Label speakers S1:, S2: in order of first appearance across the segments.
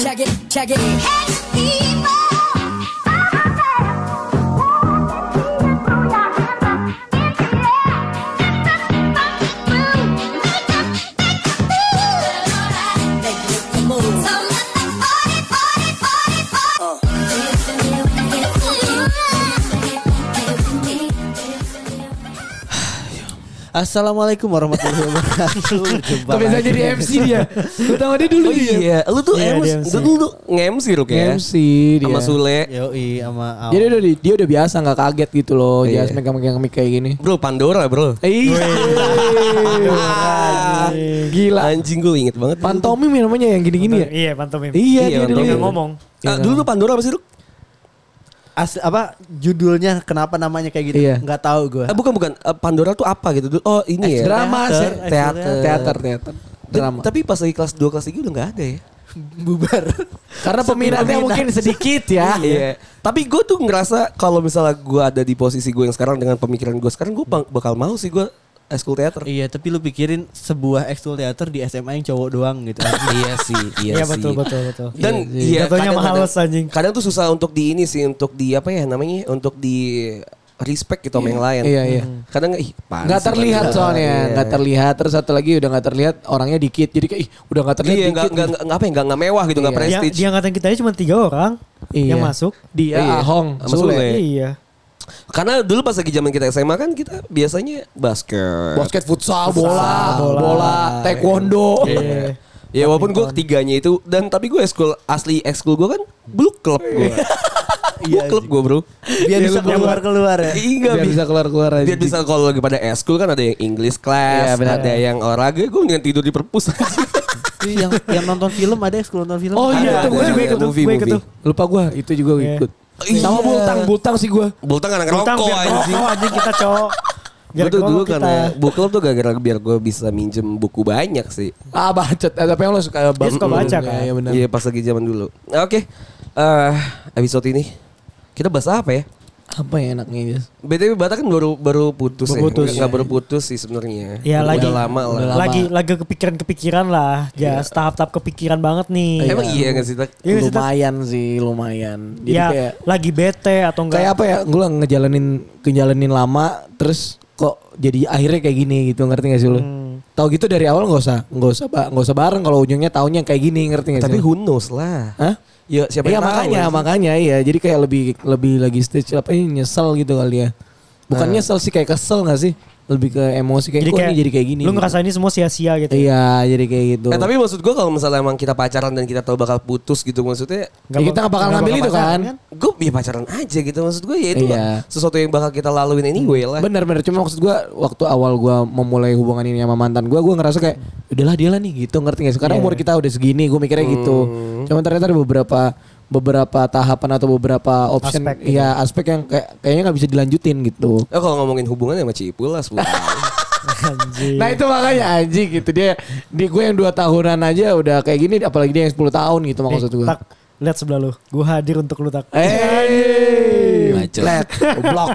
S1: Check it. Make it the move.
S2: Assalamualaikum warahmatullahi wabarakatuh. Jumpa
S3: Kebiasaan
S2: lagi.
S3: jadi MC dia. Pertama dia dulu
S4: Oh
S3: dia.
S4: iya, lu tuh
S3: Iya,
S4: emus,
S3: dia MC.
S4: lu tuh nge-MC lu kayak. ya.
S3: MC dia. Iya.
S4: Sama Sule.
S2: Yoi sama Al.
S3: Jadi udah dia udah biasa nggak kaget gitu loh. Dia
S4: Iya.
S3: harus megang-megang mic kayak gini.
S4: Bro, Pandora bro.
S3: Iya.
S4: Ah,
S3: Gila.
S4: Anjing gue inget banget.
S3: Pantomim namanya yang gini-gini ya.
S5: Iya pantomim.
S3: Iya, dia
S4: pantomim.
S3: dulu.
S5: Dia nggak ngomong.
S4: Ah,
S3: Iya.
S4: dulu lu Pandora apa sih Ah, lu?
S2: As- apa judulnya kenapa namanya kayak gitu?
S3: Iya.
S2: Nggak tahu gue.
S4: Eh, bukan bukan Eh, Pandora tuh apa gitu? Dulu- Oh ini ya.
S3: Eh, Iya. Drama
S4: teater,
S3: sih.
S4: teater.
S3: Teater, teater.
S4: Dan-
S3: Drama.
S4: Tapi pas lagi kelas 2 kelas 3 udah gak ada ya.
S2: Bubar.
S3: Karena peminatnya
S2: Peminat.
S3: mungkin sedikit ya.
S4: Iya. Tapi gue tuh ngerasa kalau misalnya gue ada di posisi gue yang sekarang dengan pemikiran gue sekarang gue bang- bakal mau sih eh, gue eskul teater.
S2: iya tapi lu pikirin sebuah ekskul teater di SMA yang cowok doang gitu.
S4: iya sih,
S5: Iya betul betul betul.
S4: Dan
S5: iya.
S4: iya,
S5: Jatuhnya
S4: kadang-kadang-
S5: males, anjing.
S4: Kadang tuh susah untuk di ini sih, untuk di apa ya namanya, untuk di respect gitu sama yang lain.
S3: Iya, iya.
S4: Kadang ih, apaan
S3: Nggak
S4: sih,
S3: terlihat
S4: padahal.
S3: soalnya,
S4: Iya.
S3: nggak terlihat. Terus satu lagi udah nggak terlihat, orangnya dikit. Jadi kayak, ih udah nggak terlihat
S4: Iya, nggak
S3: dikit.
S4: nggak nggak- nggak apa ya, nggak nggak mewah gitu,
S3: Iya.
S4: nggak
S5: Yang,
S4: prestige.
S5: di angkatan kita ini cuma tiga orang
S3: Iya.
S5: yang masuk.
S3: Dia,
S4: Iya.
S3: Ahong,
S4: Sama
S3: Sule.
S4: Sule.
S5: Iya.
S4: Karena dulu pas lagi zaman kita SMA kan kita biasanya basket.
S3: Basket, futsal, bola, bola,
S5: bola.
S3: taekwondo.
S4: Iya. Ya walaupun gue ketiganya itu dan tapi gue eskul asli eskul gue kan blue club gue. Blue club gue bro.
S2: Biar
S4: Ya,
S2: bisa keluar keluar ya.
S4: Iya
S3: Biar bisa keluar-keluar aja.
S4: Biar bisa kalau lagi pada eskul kan ada yang English class,
S3: Iya, benar.
S4: ada yang olahraga. Gue mendingan tidur di perpus aja.
S2: yang yang nonton film ada ekskul nonton film.
S3: Oh, iya,
S5: itu
S3: tuh,
S5: gue
S4: ada,
S5: juga
S4: ada,
S5: ikut tuh,
S4: movie,
S5: gue ikut
S4: movie.
S5: tuh.
S3: Lupa gue, itu juga
S5: Iya.
S3: ikut.
S4: Iya.
S3: Sama bultang, bultang sih gue.
S4: Bultang anak
S5: Utang
S4: rokok
S5: biar
S4: anjing.
S5: ngerokok, anjing kita cowok. Biar
S4: Gue tuh dulu
S5: ngerokok kita.
S4: karena book club tuh gara-gara biar gue bisa minjem buku banyak sih.
S3: Ah bacot, Eh, tapi yang lo suka baca.
S5: suka baca, kan?
S3: Iya benar.
S4: Iya pas lagi zaman dulu. Nah, Oke, eh, episode ini kita bahas apa ya?
S3: Apa yang enaknya Jess?
S4: BTW Bata kan baru baru putus,
S5: Baru
S4: ya.
S5: putus,
S4: Nggak- nggak baru putus sih sebenarnya. Udah
S5: Ya,
S3: Iya,
S4: lama lah.
S5: lagi.
S3: Udah lama. Iya.
S5: Lagi lagi kepikiran-kepikiran lah. Ya, tahap-tahap kepikiran banget nih.
S4: Emang iya nggak sih? Tak?
S5: Iya, nggak sih, Tat?
S3: Lumayan sih, lumayan. Jadi
S5: ya,
S3: kayak
S5: lagi bete atau enggak?
S3: kayak apa ya? Gue ngejalanin ngejalanin lama terus kok jadi akhirnya kayak gini gitu ngerti gak sih lu?
S5: Hmm.
S3: Tahu gitu dari awal nggak usah nggak usah ba- nggak usah bareng kalau ujungnya taunya kayak gini ngerti gak sih?
S4: Tapi
S3: lu?
S4: who knows lah.
S3: Hah?
S4: Ya siapa
S3: Iya
S4: yang tahu,
S3: makanya
S4: anjing.
S3: makanya iya jadi kayak lebih lebih lagi stage apa ini nyesel gitu kali ya. Bukan nyesel sih kayak kesel gak sih? Lebih ke emosi kayak,
S5: Jadi
S3: "Kok
S5: kayak,
S3: ini jadi kayak gini. gitu.
S5: Lu ngerasa gitu ini semua sia-sia gitu.
S3: Iya jadi kayak gitu.
S4: Eh tapi maksud gue kalau misalnya emang kita pacaran dan kita tahu bakal putus gitu maksudnya
S3: Ya, kita nggak bakal ngambil itu
S5: pacaran,
S3: kan?
S4: gue ya pacaran aja gitu maksud gue ya itu
S3: Iya.
S4: lah, sesuatu yang bakal kita laluin anyway lah.
S3: Bener-bener cuma maksud gue waktu awal gue memulai hubungan ini sama mantan gue, gue ngerasa kayak udahlah dia lah nih gitu ngerti gak sih? Karena umur kita udah segini, gue mikirnya gitu. Cuma ternyata ada beberapa beberapa tahapan atau beberapa option
S5: Aspek gitu.
S3: ya aspek yang kayak, kayaknya nggak bisa dilanjutin gitu.
S4: Eh kalau ngomongin hubungan ya sama Cipul lah sepuluh tahun.
S5: Anjir.
S3: Nah itu makanya anjing gitu dia di gue yang dua tahunan aja udah kayak gini apalagi dia yang 10 tahun gitu
S5: Nih,
S3: maksud gue.
S5: Eh, Tak, lihat sebelah lu. Gua hadir untuk lu tak.
S3: Eh,
S4: Bacot.
S3: blok.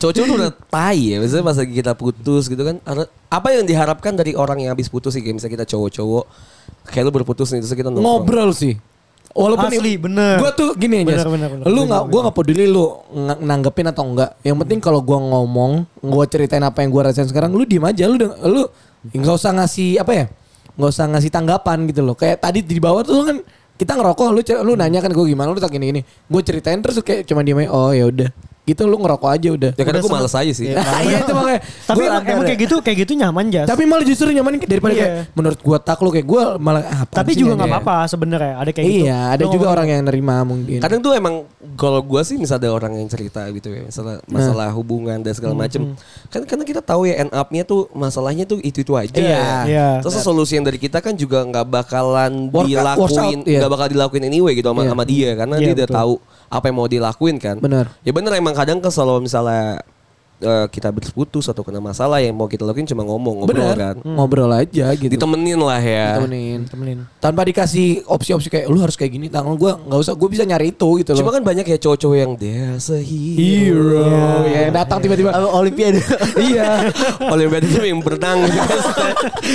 S4: Cocok tuh udah tai ya Maksudnya pas lagi kita putus gitu kan ada- Apa yang diharapkan dari orang yang habis putus sih Kayak misalnya kita cowok-cowok Kayak lu baru putus nih Terus kita nongkrong
S3: ngobrol sih. Walaupun
S5: Asli, bener.
S3: Gue tuh gini aja.
S5: Bener, bener, bener.
S3: Lu nggak, gue nggak peduli lu ng- nanggepin atau enggak. Yang penting kalau gue ngomong, gue ceritain apa yang gue rasain sekarang, lu diem aja, lu deng- lu nggak usah ngasih apa ya, nggak usah ngasih tanggapan gitu loh. Kayak tadi di bawah tuh kan kita ngerokok, lu cer- lu nanya kan gue gimana, lu tak gini gini. Gue ceritain terus kayak cuma diem aja, oh ya udah. Gitu lu ngerokok aja udah.
S4: Ya karena gue males aja sih
S3: Nah, Iya itu makanya.
S5: Tapi
S3: Gua- ya.
S5: emang, emang kayak gitu, kayak gitu nyaman jas.
S3: tapi malah justru nyaman daripada
S5: Iya.
S3: kayak menurut gue tak lu kayak gue malah "Ah, apa
S5: Tapi juga nggak apa-apa sebenarnya. Ada kayak
S3: ya,
S5: gitu.
S3: iya, ada
S5: Lu
S3: juga
S5: ngomong-
S3: orang yang nerima mungkin.
S4: Kadang tuh emang kalau gue sih misalnya ada orang yang cerita gitu ya
S3: Nah.
S4: misalnya masalah hubungan dan
S3: Hmm,
S4: segala macem kan karena kita tahu ya end up-nya tuh masalahnya tuh itu itu aja. ya.
S3: Iya.
S5: Iya.
S4: Terus solusi yang dari kita kan juga nggak bakalan
S3: Work- works out,
S4: dilakuin,
S3: iya.
S4: nggak bakal dilakuin anyway gitu sama,
S3: Iya.
S4: sama dia karena
S5: Iya,
S4: dia udah
S5: betul.
S4: tahu apa yang mau dilakuin kan.
S3: Benar.
S4: Ya bener emang kadang kesel kalau misalnya eh, kita berputus atau kena masalah yang mau kita lakuin cuma ngomong ngobrol
S3: Bener,
S4: kan.
S3: ngobrol aja gitu.
S4: Ditemenin lah ya.
S3: Hmm. Ditemenin.
S5: temenin.
S3: Tanpa dikasih opsi-opsi kayak lu harus kayak gini, tangan gua nggak usah, gue bisa nyari itu gitu
S4: Cuma
S3: loh.
S4: kan banyak ya cowok-cowok yang there's a hero.
S3: hero ya, yang datang tiba-tiba.
S2: Apa, Olimpiade.
S3: iya.
S4: Olimpiade itu yang berenang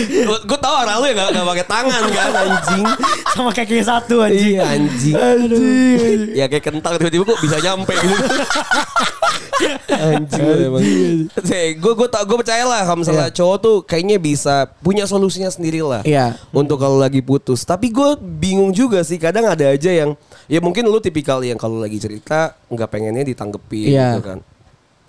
S4: Gue tau orang lu ya gak, gak pakai tangan kan anjing
S5: Sama kaki satu anjing.
S4: Iya anjing Ya kayak kentang tiba-tiba kok bisa nyampe gitu Anjing lu emang Gue gue tau gue percaya lah kalau misalnya cowok tuh kayaknya bisa punya solusinya sendiri lah
S3: Iya.
S4: Untuk kalau lagi putus Tapi gue bingung juga sih kadang ada aja yang Ya mungkin lu tipikal yang kalau lagi cerita nggak pengennya ditanggepi
S3: Iya.
S4: gitu kan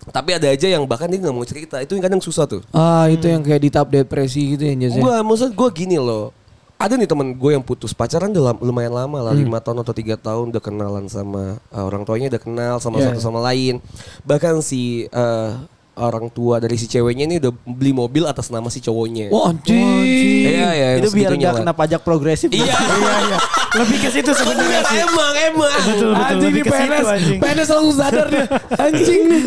S4: tapi ada aja yang bahkan dia nggak mau cerita itu yang kadang susah tuh
S3: Ah, itu yang kayak di tahap depresi gitu ya, Jas, ya.
S4: Gue maksud gue gini loh. Ada nih temen gue yang putus pacaran udah lam- lumayan lama lah lima tahun atau tiga tahun udah kenalan sama uh, orang tuanya udah kenal sama satu sama lain. Bahkan si uh, orang tua dari si ceweknya ini udah beli mobil atas nama si cowoknya.
S3: Wah, Oh, anjing.
S4: Iya, iya, yang
S2: itu biar
S4: segitunya
S2: nggak
S4: lah.
S2: kena pajak progresif.
S4: Iya.
S5: Lebih ke situ sebenarnya
S4: Bener,
S5: sih.
S4: emang emang.
S5: Betul betul.
S3: Anjing
S5: Lebih
S3: nih
S5: ke situ
S3: PNS,
S5: anjing.
S3: PNS langsung sadar dia. Anjing nih.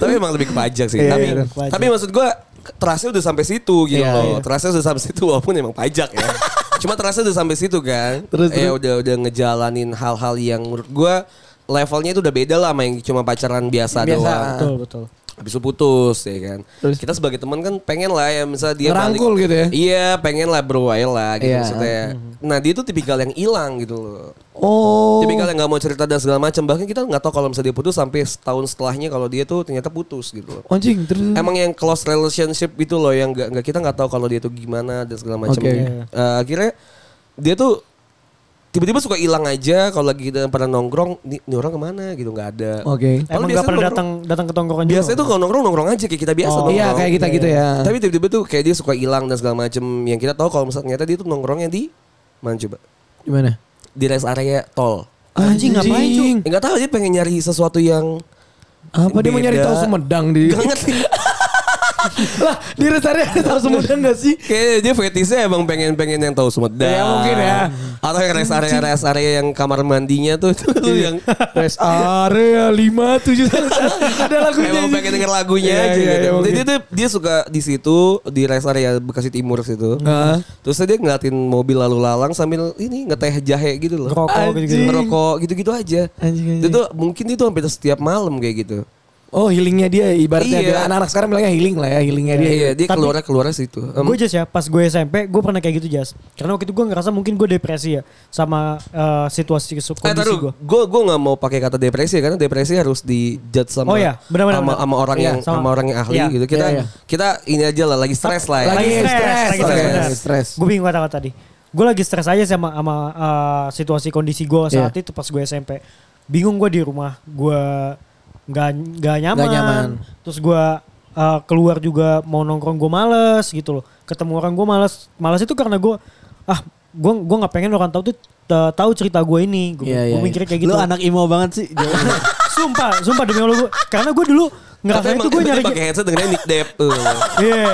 S4: tapi emang lebih ke pajak sih.
S2: Iya,
S4: tapi
S2: iya,
S5: ke pajak.
S4: tapi maksud gua terasnya udah sampai situ gitu
S3: Iya,
S4: loh.
S3: iya.
S4: Terasnya udah sampai situ walaupun emang pajak ya. Cuma terasnya udah sampai situ kan.
S2: Terus,
S4: ya
S2: terus.
S4: udah udah ngejalanin hal-hal yang menurut gua levelnya itu udah beda lah sama yang cuma pacaran
S3: Biasa.
S4: biasa, doang.
S5: Betul betul.
S4: Habis itu putus ya kan.
S3: Terus?
S4: Kita sebagai teman kan pengen lah ya misalnya dia
S3: Ngerangkul gitu ya.
S4: Iya, pengen lah berwail lah gitu
S3: Iya.
S4: maksudnya. Nah, dia tuh tipikal yang hilang gitu loh.
S3: Oh.
S4: Tipikal yang nggak mau cerita dan segala macam. Bahkan kita nggak tahu kalau misalnya dia putus sampai setahun setelahnya kalau dia tuh ternyata putus gitu loh.
S3: Anjing terus.
S4: Emang yang close relationship itu loh yang nggak nggak kita nggak tahu kalau dia tuh gimana dan segala macam.
S3: Oke.
S4: Eh, akhirnya dia tuh tiba-tiba suka hilang aja kalau lagi kita pada nongkrong, nih, nih orang kemana gitu nggak ada.
S3: Oke.
S4: Kalau
S5: Emang
S4: biasanya
S5: gak pernah
S4: nongkrong-
S5: datang datang ke tongkrongan juga.
S4: Biasanya tuh kalau nongkrong nongkrong aja kayak kita biasa
S5: Oh,
S4: nongkrong.
S3: Iya, kayak kita gitu ya.
S4: Tapi tiba-tiba tuh kayak dia suka hilang dan segala macam. Yang kita tahu kalau misalnya ternyata dia tuh nongkrongnya di mana coba?
S3: gimana?
S4: Di rest area tol.
S3: Anjing, ngapain, Cuk?
S4: Ya, nggak tahu dia pengen nyari sesuatu yang
S3: Apa dia mau
S4: Beda.
S3: nyari tahu Sumedang di
S4: Gak ngerti.
S3: lah di restoran ada tahu Sumedang gak sih?
S4: Kayaknya dia fetishnya emang pengen-pengen yang tahu Sumedang.
S3: Ya, mungkin ya.
S4: Atau yang rest area rest area yang kamar mandinya tuh tuh yang
S3: Rest area 57 ada lagunya.
S4: emang
S3: anjing.
S4: pengen denger lagunya
S3: Iya, iya,
S4: aja gitu.
S3: iya,
S4: Jadi
S3: mungkin.
S4: dia tuh dia suka di situ di rest area Bekasi Timur situ.
S3: Heeh.
S4: Terus dia ngeliatin mobil lalu lalang sambil ini ngeteh jahe gitu loh.
S5: Ngerokok gitu-gitu.
S4: Ngerokok gitu-gitu aja.
S3: Anjing, anjing.
S4: Itu tuh mungkin itu hampir setiap malam kayak gitu.
S3: Oh healingnya dia ibaratnya
S4: Iya.
S3: bilang- anak-anak sekarang bilangnya healing lah ya healingnya dia.
S4: Iya, dia
S5: Tapi-
S4: keluar keluar situ. Em,
S5: Gue jas ya, pas gue SMP, gue pernah kayak gitu jas. Karena waktu itu gue ngerasa mungkin gue depresi ya, sama eh, situasi su-
S4: Eh
S5: kondisi
S4: taruh,
S5: gue.
S4: gue gue nggak mau pakai kata depresi karena depresi harus dijudge sama
S5: Oh iya,
S4: sama,
S5: benar-benar, benar.
S4: sama orang
S5: Iya,
S4: yang sama.
S5: sama.
S4: orang yang ahli
S5: Iya.
S4: gitu. Kita
S3: Iya, iya.
S4: kita ini aja lah lagi stres lah ya.
S3: Lagi stres,
S5: lagi
S4: stres,
S5: stres. benar.
S3: stres.
S5: Gue bingung kata-kata tadi. Gue lagi stres aja sama sama eh, situasi kondisi gue saat
S3: Iya.
S5: itu pas gue SMP. Bingung gue di rumah, gue nggak nggak nyaman.
S3: Nggak nyaman.
S5: Terus gue eh, keluar juga mau nongkrong gue males gitu loh. Ketemu orang gue males, males itu karena gue ah gue gue nggak pengen orang tahu tuh eh, tahu cerita gue ini. Gue
S3: Iya, iya, iya.
S5: mikirnya kayak gitu.
S2: Lu anak imo banget sih.
S5: Nah, sumpah, sumpah demi Allah gue. Karena gue dulu ngerasa
S4: Katanya
S5: itu gue
S4: emang-
S5: nyari.
S4: dia pakai headset dengerin eh. Nick Depp. tuh.
S5: Iya.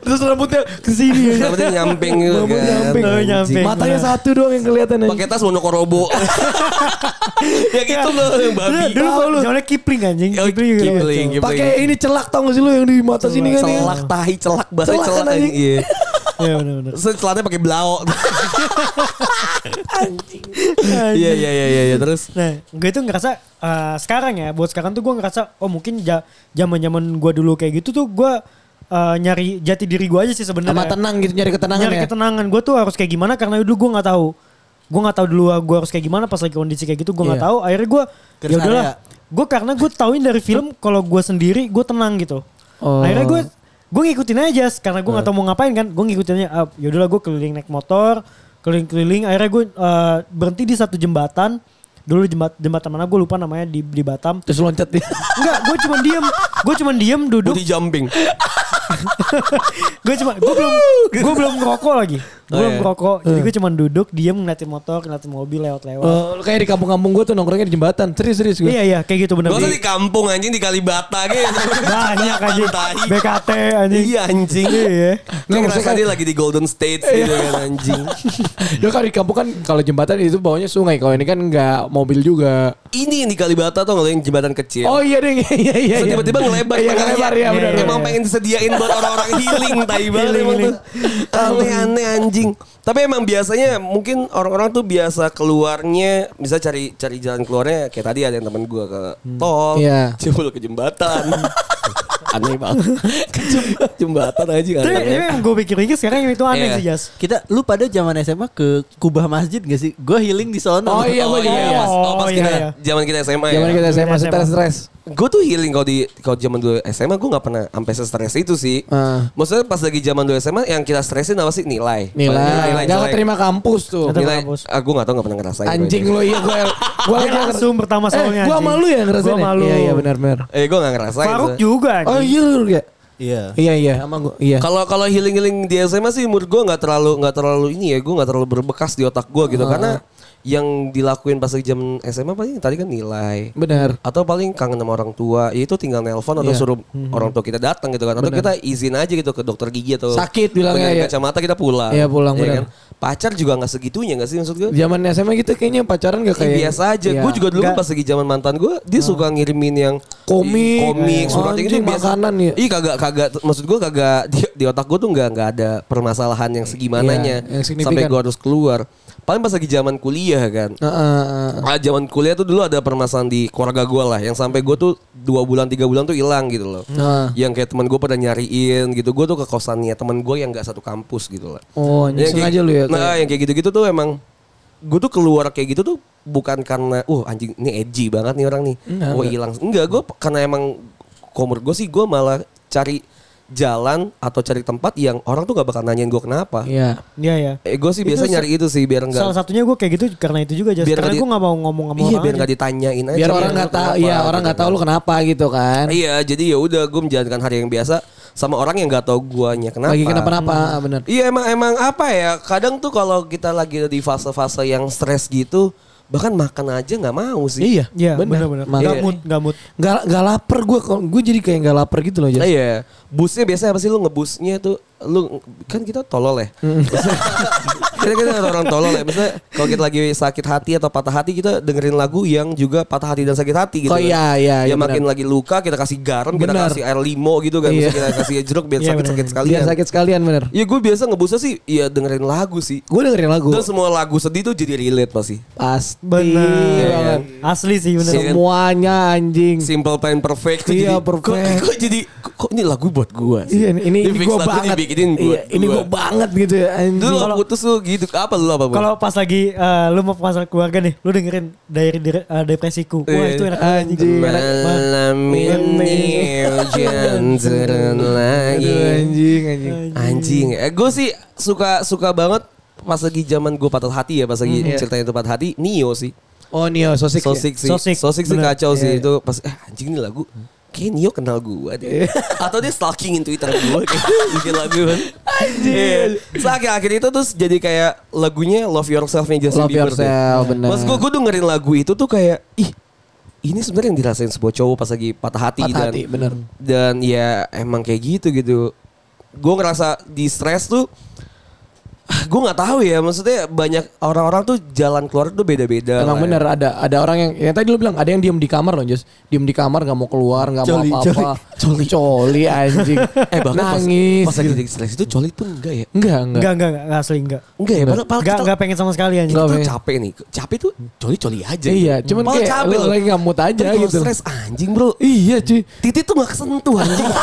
S3: Terus rambutnya ke sini.
S4: Rambutnya nyamping gitu
S3: Rambut
S4: kan.
S3: nyamping.
S5: Rambut nyamping. Iya.
S3: Matanya
S5: Benar.
S3: satu doang yang kelihatan anjing.
S4: Pakai tas monokorobo. ya gitu loh yang babi.
S5: Iya, Dulu dulu jamannya Kipling anjing.
S4: Oh,
S5: Kipling Gitu iya. juga.
S4: Kipling, Kipling.
S3: Pakai ini celak tau gak sih lu yang di mata sini kan ya?
S4: ya. celak tahi celak bahasa
S3: Celak kan,
S4: celak.
S3: anjing.
S4: Iya.
S5: Iya benar-benar.
S4: Terus celananya pakai belao. Iya iya iya iya iya. terus
S5: Nah, gue itu ngerasa eh, sekarang ya, buat sekarang tuh gue ngerasa oh mungkin ja- zaman-zaman gue dulu kayak gitu tuh gue eh, nyari jati diri gue aja sih sebenarnya.
S3: Sama tenang gitu nyari ketenangan
S5: nyari
S3: ya.
S5: ketenangan. Gue tuh harus kayak gimana karena dulu gue nggak tahu. Gue nggak tahu dulu gue harus kayak gimana pas lagi kondisi kayak gitu gue nggak
S3: Iya.
S5: tahu. Akhirnya gue
S2: Terus
S5: ya udahlah.
S2: area.
S5: Gue karena gue tauin dari film kalau gue sendiri gue tenang gitu.
S3: Oh. Iya.
S5: Akhirnya gue gue ngikutin aja Jas, karena gue nggak tahu mau ngapain kan. Gue ngikutin aja. ah, ya udahlah gue keliling naik motor, keliling-keliling. Akhirnya gue eh, berhenti di satu jembatan. Dulu jembat, jembatan mana gue lupa namanya di, di Batam.
S3: Terus loncat dia.
S5: Enggak, gue cuma diem. Gue cuma diem duduk.
S4: body jumping.
S5: gue cuma gue belum gue belum ngerokok lagi. Gue
S4: Oh,
S5: belum
S4: iya.
S5: ngerokok. Jadi gue cuma duduk diam ngeliatin motor, ngeliatin mobil
S4: Oh,
S5: lewat-lewat.
S3: Eh, lu kayak di kampung-kampung gue tuh nongkrongnya di jembatan. Serius-serius gue.
S5: Iya iya kayak gitu bener.
S4: Gak usah
S5: Jadi-
S4: di kampung anjing di Kalibata gitu.
S5: Banyak aja
S4: Tai.
S5: BKT anjing.
S4: Iya anjing.
S5: Iya.
S4: Kayak ngerasa dia lagi di Golden State
S3: Iya.
S4: gitu kan anjing.
S3: Ya kalau di kampung kan kalau jembatan itu bawahnya sungai. Kalau ini kan nggak mobil juga.
S4: Ini yang di Kalibata tuh yang jembatan kecil.
S3: Oh iya deh. Iya iya.
S4: Terus
S3: iya.
S4: tiba-tiba ngelebar
S3: Iya
S4: tengahnya.
S3: ngelebar ya benar.
S4: Emang pengen disediain buat orang-orang healing tai banget
S5: Healing,
S4: emang tuh.
S5: healing.
S4: Aneh-aneh anjing. Tapi emang biasanya mungkin orang-orang tuh biasa keluarnya bisa cari cari jalan keluarnya kayak tadi ada yang temen gua ke tol,
S3: Iya.
S4: coba lu ke jembatan. aneh banget. Ke jem- jembatan aja
S5: Tapi tapi yang gue pikir-pikir sekarang yang itu
S4: Iya.
S5: aneh sih Jas.
S2: Kita lu pada zaman SMA ke kubah masjid gak sih? Gue healing di sono.
S3: Oh iya,
S4: Oh,
S3: gua juga.
S4: iya, pas, oh, pas
S5: Oh,
S4: kita
S5: iya, iya.
S4: zaman kita SMA
S3: Zaman
S4: ya.
S3: kita saya masih
S5: SMA.
S3: stres-stres.
S4: Gue tuh healing kalau di kalau zaman dulu SMA gue nggak pernah sampai stres itu sih.
S3: Ah.
S4: Maksudnya pas lagi zaman dulu SMA yang kita stresin apa sih nilai.
S3: Nilai. Gak
S4: jelek.
S3: Iya, terima kampus tuh.
S5: Nggak
S4: Nilai,
S5: kampus.
S4: ah, gue gak tau gak pernah ngerasain. gua
S3: Anjing
S4: ini.
S3: lo iya gue. Gue
S5: Dia langsung pertama soalnya
S3: Gue
S5: anjing.
S3: malu ya ngerasain.
S5: Gua
S3: ya?
S5: malu.
S3: Iya iya benar-benar.
S4: Eh gue gak ngerasain.
S5: Faruk
S4: tuh.
S5: juga
S3: Oh
S5: anjing.
S3: iya lu ya.
S2: Iya.
S3: Iya iya sama gue. Iya.
S4: Kalau kalau healing healing di SMA sih menurut gue nggak terlalu nggak terlalu ini ya gue nggak terlalu berbekas di otak gue
S3: Ah.
S4: gitu karena yang dilakuin pas lagi zaman SMA paling tadi kan nilai
S3: Benar.
S4: atau paling kangen sama orang tua ya itu tinggal nelpon atau
S3: Iya.
S4: suruh orang tua kita datang gitu kan atau kita izin aja gitu ke dokter gigi atau
S3: Sakit bilangnya
S4: penyakit
S3: ya.
S4: kacamata kita pulang
S3: Iya, pulang, benar.
S4: ya pacar juga nggak segitunya nggak sih maksud gue
S3: Zaman SMA gitu kayaknya pacaran gak
S4: Ih,
S3: kayak
S4: biasa aja
S3: Iya.
S4: gue juga dulu kan
S5: Nggak.
S4: pas lagi zaman mantan gue dia suka ngirimin yang
S3: Komik.
S4: komik
S3: Iya.
S4: surat gitu
S3: Anjing, makanan ya.
S4: iya kagak kagak maksud gue kagak di, di otak gue tuh nggak nggak ada permasalahan yang segimananya
S3: Iya, yang signifikan.
S4: sampai gue harus keluar paling pas lagi zaman kuliah kan
S3: Heeh, heeh.
S4: Ah, zaman kuliah tuh dulu ada permasalahan di keluarga gue lah, yang sampai gue tuh dua bulan tiga bulan tuh hilang gitu loh.
S3: Nah.
S4: Yang kayak teman gue pada nyariin gitu, gue tuh ke kosannya teman gue yang nggak satu kampus gitu lah.
S3: Oh, anjing,
S4: Yang kayak-
S3: sengaja lu ya,
S4: Nah, yang kayak gitu-gitu tuh emang gue tuh keluar kayak gitu tuh bukan karena, uh anjing ini edgy banget nih orang nih,
S3: Enggak,
S4: gue hilang. Enggak, gue p- karena emang komur gue sih gue malah cari jalan atau cari tempat yang orang tuh nggak bakal nanyain gue kenapa.
S3: Iya.
S5: Iya iya.
S4: Eh, gue sih
S5: Itu
S4: biasa
S5: se-
S4: nyari itu sih biar enggak
S5: Salah satunya gue kayak gitu karena itu juga Jas.
S4: Biar
S5: Karena
S4: nggak
S5: gue
S4: di-
S5: gak mau ngomong sama
S4: Iya
S5: orang
S4: biar
S5: aja.
S4: nggak ditanyain aja.
S3: Biar orang nggak tahu, iya orang nggak tahu lu kenapa gitu kan.
S4: Iya, jadi ya udah gue menjalankan hari yang biasa sama orang yang nggak tahu guanya kenapa.
S3: Lagi kenapa-napa,
S2: Hmm.
S3: ah, benar.
S4: Iya emang emang apa ya? Kadang tuh kalau kita lagi di fase-fase yang stres gitu, bahkan makan aja nggak mau sih.
S3: Iya,
S5: Iya
S3: benar.
S5: benar-benar.
S3: Makanya-
S5: Gak mood gak mood.
S3: Gak, gak lapar gue, gue jadi kayak gak lapar gitu loh. Jas.
S4: Iya, busnya biasanya apa sih lu ngebusnya tuh lu kan kita tolol ya. kita kita orang tolol ya. Misalnya kalau kita lagi sakit hati atau patah hati kita dengerin lagu yang juga patah hati dan sakit hati gitu.
S3: Oh, iya, iya,
S4: Ya
S3: iya,
S4: makin lagi luka kita kasih garam, kita
S3: Benar.
S4: kasih air limo gitu kan,
S3: Iya.
S4: kita kasih jeruk biar
S5: Iya,
S4: sakit-sakit
S5: benar.
S4: sekalian.
S3: Biar sakit sekalian bener.
S4: Ya gue biasa ngebusnya sih ya dengerin lagu sih.
S3: Gue dengerin lagu.
S4: Dan semua lagu sedih tuh jadi relate pasti.
S3: Hmm. Pasti.
S4: Iya,
S5: Benar. Asli sih benar.
S3: Semuanya anjing.
S4: Simple Plan Perfect tuh
S3: Iya,
S4: jadi,
S3: perfect.
S4: Kok, kok jadi kok, kok ini lagu buat gue sih?
S3: Iya, ini ini,
S4: Dia
S3: ini
S4: fix
S3: gue
S4: lagu
S3: banget.
S4: dibikinin buat
S3: Iya, ini gue banget gitu ya. anjing.
S4: Dulu lo putus tuh gitu apa lu apa Bu?
S5: Kalau pas lagi eh, lu mau masalah keluarga nih, lu dengerin dari dire- eh, depresiku. Wah
S4: Iya.
S5: itu enak banget,
S3: Anjing. enak.
S4: malam
S3: Iya,
S4: ini hujan turun
S3: Aduh,
S4: lagi.
S3: anjing, anjing.
S4: Anjing, eh, gue sih suka suka banget pas lagi zaman gue patah hati ya pas lagi
S3: Hmm.
S4: ceritanya itu patah hati Nio sih.
S3: Oh Nio, sosik. ya?
S4: Sosik sih. Sosik,
S5: Sosik,
S4: sih
S5: bener.
S4: kacau
S3: Iya,
S4: sih
S3: iya.
S4: itu pas eh anjing ini lagu kayak Nio kenal gue deh. Atau dia stalkingin Twitter gue kayak bikin lagu. Anjing. Terus akhir-akhir itu terus jadi kayak lagunya Love Yourself-nya Justin
S3: Love
S4: Bieber. tuh.
S3: yourself, bener.
S4: Mas gue gue dengerin lagu itu tuh kayak ih ini sebenarnya yang dirasain sebuah cowok pas lagi patah hati
S3: Patah
S4: dan
S3: hati, bener.
S4: dan ya emang kayak gitu gitu. Gue ngerasa di stres tuh gue nggak tahu ya maksudnya banyak orang-orang tuh jalan keluar tuh beda-beda.
S3: Emang
S4: lah ya.
S3: bener ada ada orang yang yang tadi lu bilang ada yang diem di kamar loh Jess. Diem di kamar gak mau keluar, gak mau
S2: Coli,
S3: apa-apa. Coli. Coli anjing.
S4: Eh bahkan pas-
S3: nangis.
S4: pas, lagi di seleksi itu colit pun enggak ya?
S3: enggak, enggak.
S5: Enggak, enggak, enggak, asli enggak.
S4: Enggak ya, padahal, padahal
S5: Enggak,
S4: kita,
S5: enggak pengen sama sekali anjing.
S4: kita
S3: Enggak,
S4: tuh
S3: ya.
S4: capek nih. Capek tuh coli-coli aja.
S3: Iya,
S4: gitu.
S3: cuman
S4: Malah
S3: kayak lu
S4: capek loh.
S3: lagi nggak mood aja
S4: Tapi kalau
S3: gitu.
S4: stres anjing bro.
S3: Iya cuy.
S4: Titik tuh gak kesentuh anjing.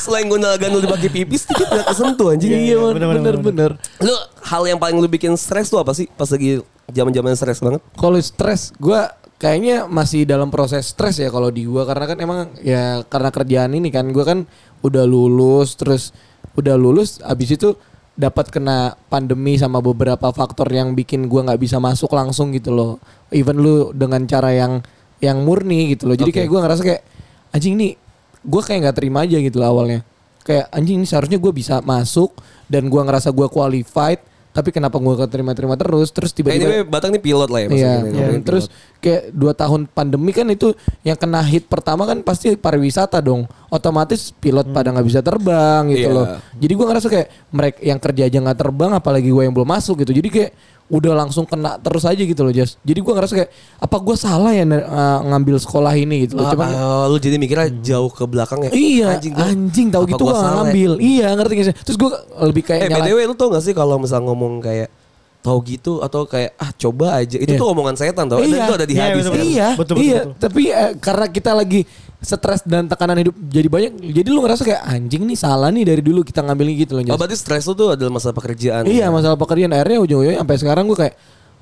S4: Selain gondal gandul dipakai pipis, titik gak kesentuh anjing.
S3: Iya,
S5: bener,
S3: bener,
S5: bener,
S3: bener, bener.
S4: Lu hal yang paling lu bikin stres tuh apa sih? Pas lagi zaman-zaman stres banget.
S3: Kalau stres, gue kayaknya masih dalam proses stres ya kalau di gue karena kan emang ya karena kerjaan ini kan gue kan udah lulus terus udah lulus abis itu dapat kena pandemi sama beberapa faktor yang bikin gue nggak bisa masuk langsung gitu loh. Even lu dengan cara yang yang murni gitu loh. Jadi kayak gue ngerasa kayak anjing nih gue kayak nggak terima aja gitu loh awalnya. kayak anjing ini seharusnya gue bisa masuk dan gue ngerasa gue qualified tapi kenapa gue keterima-terima terus terus tiba-tiba
S4: Anyway, Batang ini pilot lah
S3: Iya.
S4: ya maksudnya.
S3: iya.
S4: Ngomongin
S3: Terus kayak dua tahun pandemi kan itu yang kena hit pertama kan pasti pariwisata dong. Otomatis pilot pada nggak bisa terbang gitu
S4: Iya.
S3: loh. Jadi gua ngerasa kayak mereka yang kerja aja nggak terbang, apalagi gua yang belum masuk gitu. Jadi kayak udah langsung kena terus aja gitu loh Jas. Jadi gua ngerasa kayak apa gua salah ya ne- uh, ngambil sekolah ini gitu loh.
S4: pilot. Ah,
S3: Cuman
S4: ah, lu jadi mikirnya jauh ke belakang ya.
S3: Iya, anjing,
S4: Anjing gua-
S3: tahu
S4: apa
S3: gitu
S4: gua
S3: gua nggak
S4: salah ya?
S3: ngambil. Iya, ngerti gak sih? Terus gua lebih kayak
S4: Eh
S3: nyala-
S4: BTW lu tau gak sih kalau misal ngomong kayak tahu gitu atau kayak ah coba aja. Itu
S3: Iya.
S4: tuh omongan setan tau. Dan
S3: Iya.
S4: itu ada di
S5: Iya,
S4: hadis.
S5: betul,
S4: kan?
S5: betul.
S3: Iya,
S5: betul,
S3: iya.
S5: betul.
S3: Tapi eh, karena kita lagi stres dan tekanan hidup jadi banyak, jadi lu ngerasa kayak anjing nih salah nih dari dulu kita ngambilnya gitu loh. Jas."
S4: Oh berarti stres lu tuh adalah masalah pekerjaan.
S3: iya,
S4: ya?
S3: masalah pekerjaan akhirnya ujung-ujungnya sampai sekarang gue kayak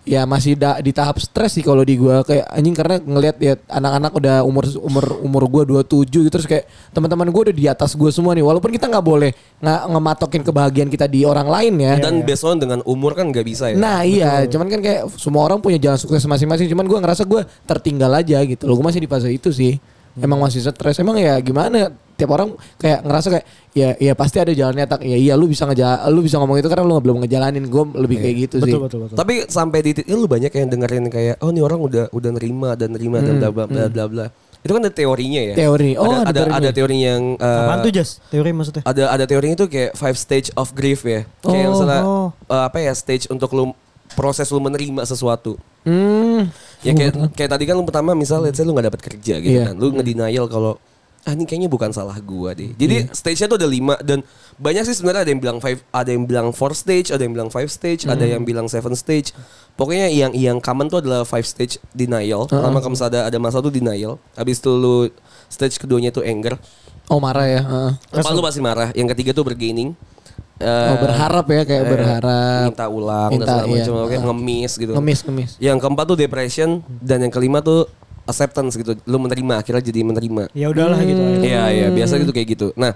S3: ya masih da- di tahap stres sih kalau di gua kayak anjing karena ngelihat ya anak-anak udah umur umur umur gua 27 gitu terus kayak teman-teman gua udah di atas gua semua nih walaupun kita nggak boleh nggak ngematokin kebahagiaan kita di orang lain ya
S4: Dan based on dengan umur kan gak bisa ya.
S3: Nah iya, cuman kan kayak semua orang punya jalan sukses masing-masing. Cuman gue ngerasa gue tertinggal aja gitu. Loh gue masih di fase itu sih.
S4: Hmm.
S3: Emang masih stres. Emang ya gimana? Tiap orang kayak ngerasa kayak ya ya pasti ada jalannya tak. Ya iya lu bisa ngeja lu bisa ngomong itu karena lu belum ngejalanin. Gue lebih kayak
S4: Iya,
S3: gitu sih.
S5: Betul, betul, betul.
S4: Tapi sampai di titik "Eh, lu banyak yang dengerin kayak oh nih orang udah udah nerima dan nerima dan bla bla bla bla bla. Itu kan ada teorinya ya.
S3: Teori. Oh, ada
S4: ada ada,
S3: teorinya.
S4: ada teori yang eh,
S5: Apaan tuh Jas? Teori maksudnya?
S4: ada ada teorinya itu kayak five stage of grief ya. Kayak
S5: Oh,
S4: misalnya
S5: oh.
S4: eh, apa ya stage untuk lu proses lu menerima sesuatu.
S3: Hmm.
S4: Ya kayak kayak tadi kan lu pertama misal let's say lu nggak dapat kerja gitu
S3: Iya.
S4: kan. Lu ngedenial kalau ah ini kayaknya bukan salah gua deh.
S3: Iya.
S4: Jadi stage-nya tuh ada lima dan banyak sih sebenarnya ada yang bilang five, ada yang bilang four stage, ada yang bilang five stage, ada
S3: Hmm.
S4: yang bilang seven stage. Pokoknya yang yang common tuh adalah five stage denial. Pertama kamu ada ada masa tuh denial. Habis itu lu stage keduanya tuh anger.
S3: Oh marah ya. heeh.
S4: Apa lu pasti marah. Yang ketiga tuh bergaining. Eh,
S3: Oh, berharap ya kayak berharap.
S4: minta ulang
S3: Minta,
S4: dan segala
S3: iya.
S4: macam kayak
S3: Ah.
S4: ngemis gitu.
S3: Ngemis ngemis.
S4: Yang keempat tuh depression dan yang kelima tuh acceptance gitu. Lu menerima akhirnya jadi menerima.
S5: Ya udahlah gitu.
S3: Hmm.
S4: Iya iya, biasa gitu kayak gitu. Nah,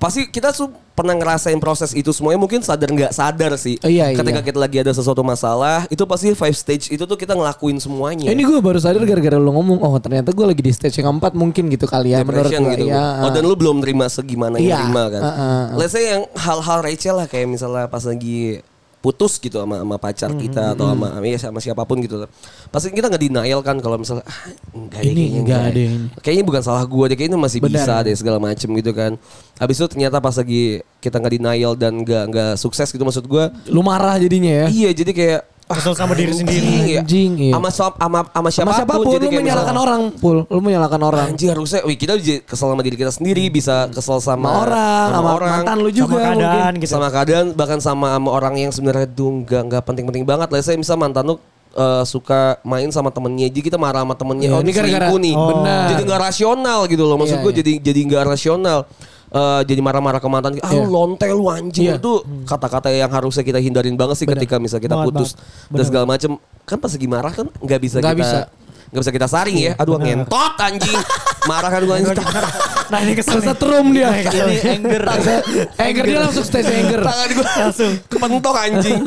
S4: pasti kita tuh pernah ngerasain proses itu semuanya mungkin sadar nggak sadar sih.
S3: Oh, iya,
S4: Ketika
S3: iya.
S4: kita lagi ada sesuatu masalah, itu pasti five stage itu tuh kita ngelakuin semuanya.
S3: Eh, Ini gue baru sadar gara-gara lu ngomong oh ternyata gue lagi di stage yang keempat mungkin gitu kali ya menurut
S4: depression
S3: gue.
S4: gitu.
S3: Iya,
S4: Oh dan lu belum terima segimana
S3: Iya.
S4: yang terima kan.
S3: Ah, ah, ah.
S4: Let's say yang hal-hal receh lah kayak misalnya pas lagi putus gitu sama sama pacar
S3: Hmm,
S4: kita atau sama ya sama siapapun gitu. Pasti kita nggak denial kan kalau misalnya ah, enggak deh,
S3: Ini
S4: kayaknya
S3: enggak
S4: deh.
S3: deh, ini.
S4: Kayaknya bukan salah gua deh, kayaknya masih
S3: Benar.
S4: bisa deh segala macem gitu kan. Habis itu ternyata pas lagi kita nggak denial dan nggak nggak sukses gitu maksud gua.
S3: lu marah jadinya ya.
S4: Iya, jadi kayak ah,
S5: Kesel sama diri sendiri.
S3: Anjing, iya.
S4: Sama suap- sama sama
S3: Sama
S4: siapapun,
S3: siapapun
S4: jadi
S3: lu
S4: kayak
S3: menyalahkan
S4: misalnya,
S3: orang, Pul. Lu menyalahkan orang.
S4: Anjir harusnya wih, kita jadi kesel sama diri kita sendiri bisa kesel sama,
S3: Sama orang, sama mantan lu juga
S5: Sama keadaan
S3: mungkin.
S5: gitu.
S4: sama keadaan bahkan sama sama orang yang sebenarnya tuh nggak nggak penting-penting banget lah saya bisa mantan lu eh, suka main sama temennya jadi kita marah sama
S3: Iya,
S4: temennya oh ini
S3: ini gara-gara-
S4: selingkuh nih
S3: Oh. Benar.
S4: jadi nggak rasional gitu loh maksud
S3: Iya,
S4: gue
S3: iya.
S4: jadi jadi nggak rasional Eh, jadi marah-marah ke mantan ah
S3: Iya.
S4: lu lonte lu anjing
S3: Iya.
S4: itu kata-kata yang harusnya kita hindarin banget sih ketika misal kita
S5: Banget,
S4: putus
S5: banget.
S4: dan
S5: Benar.
S4: segala macem kan pas lagi marah kan nggak bisa
S3: Nggak
S4: kita
S3: bisa. Iya,
S4: nggak bisa kita saring ya aduh ngentot anjing marah kan gue anjing
S5: Nah ini kesel nih.
S3: Setrum dia.
S1: Jadi anger.
S3: Iya. Eh, Anger dia langsung stage anger.
S4: Tangan gue
S5: Langsung.
S4: kepentok anjing.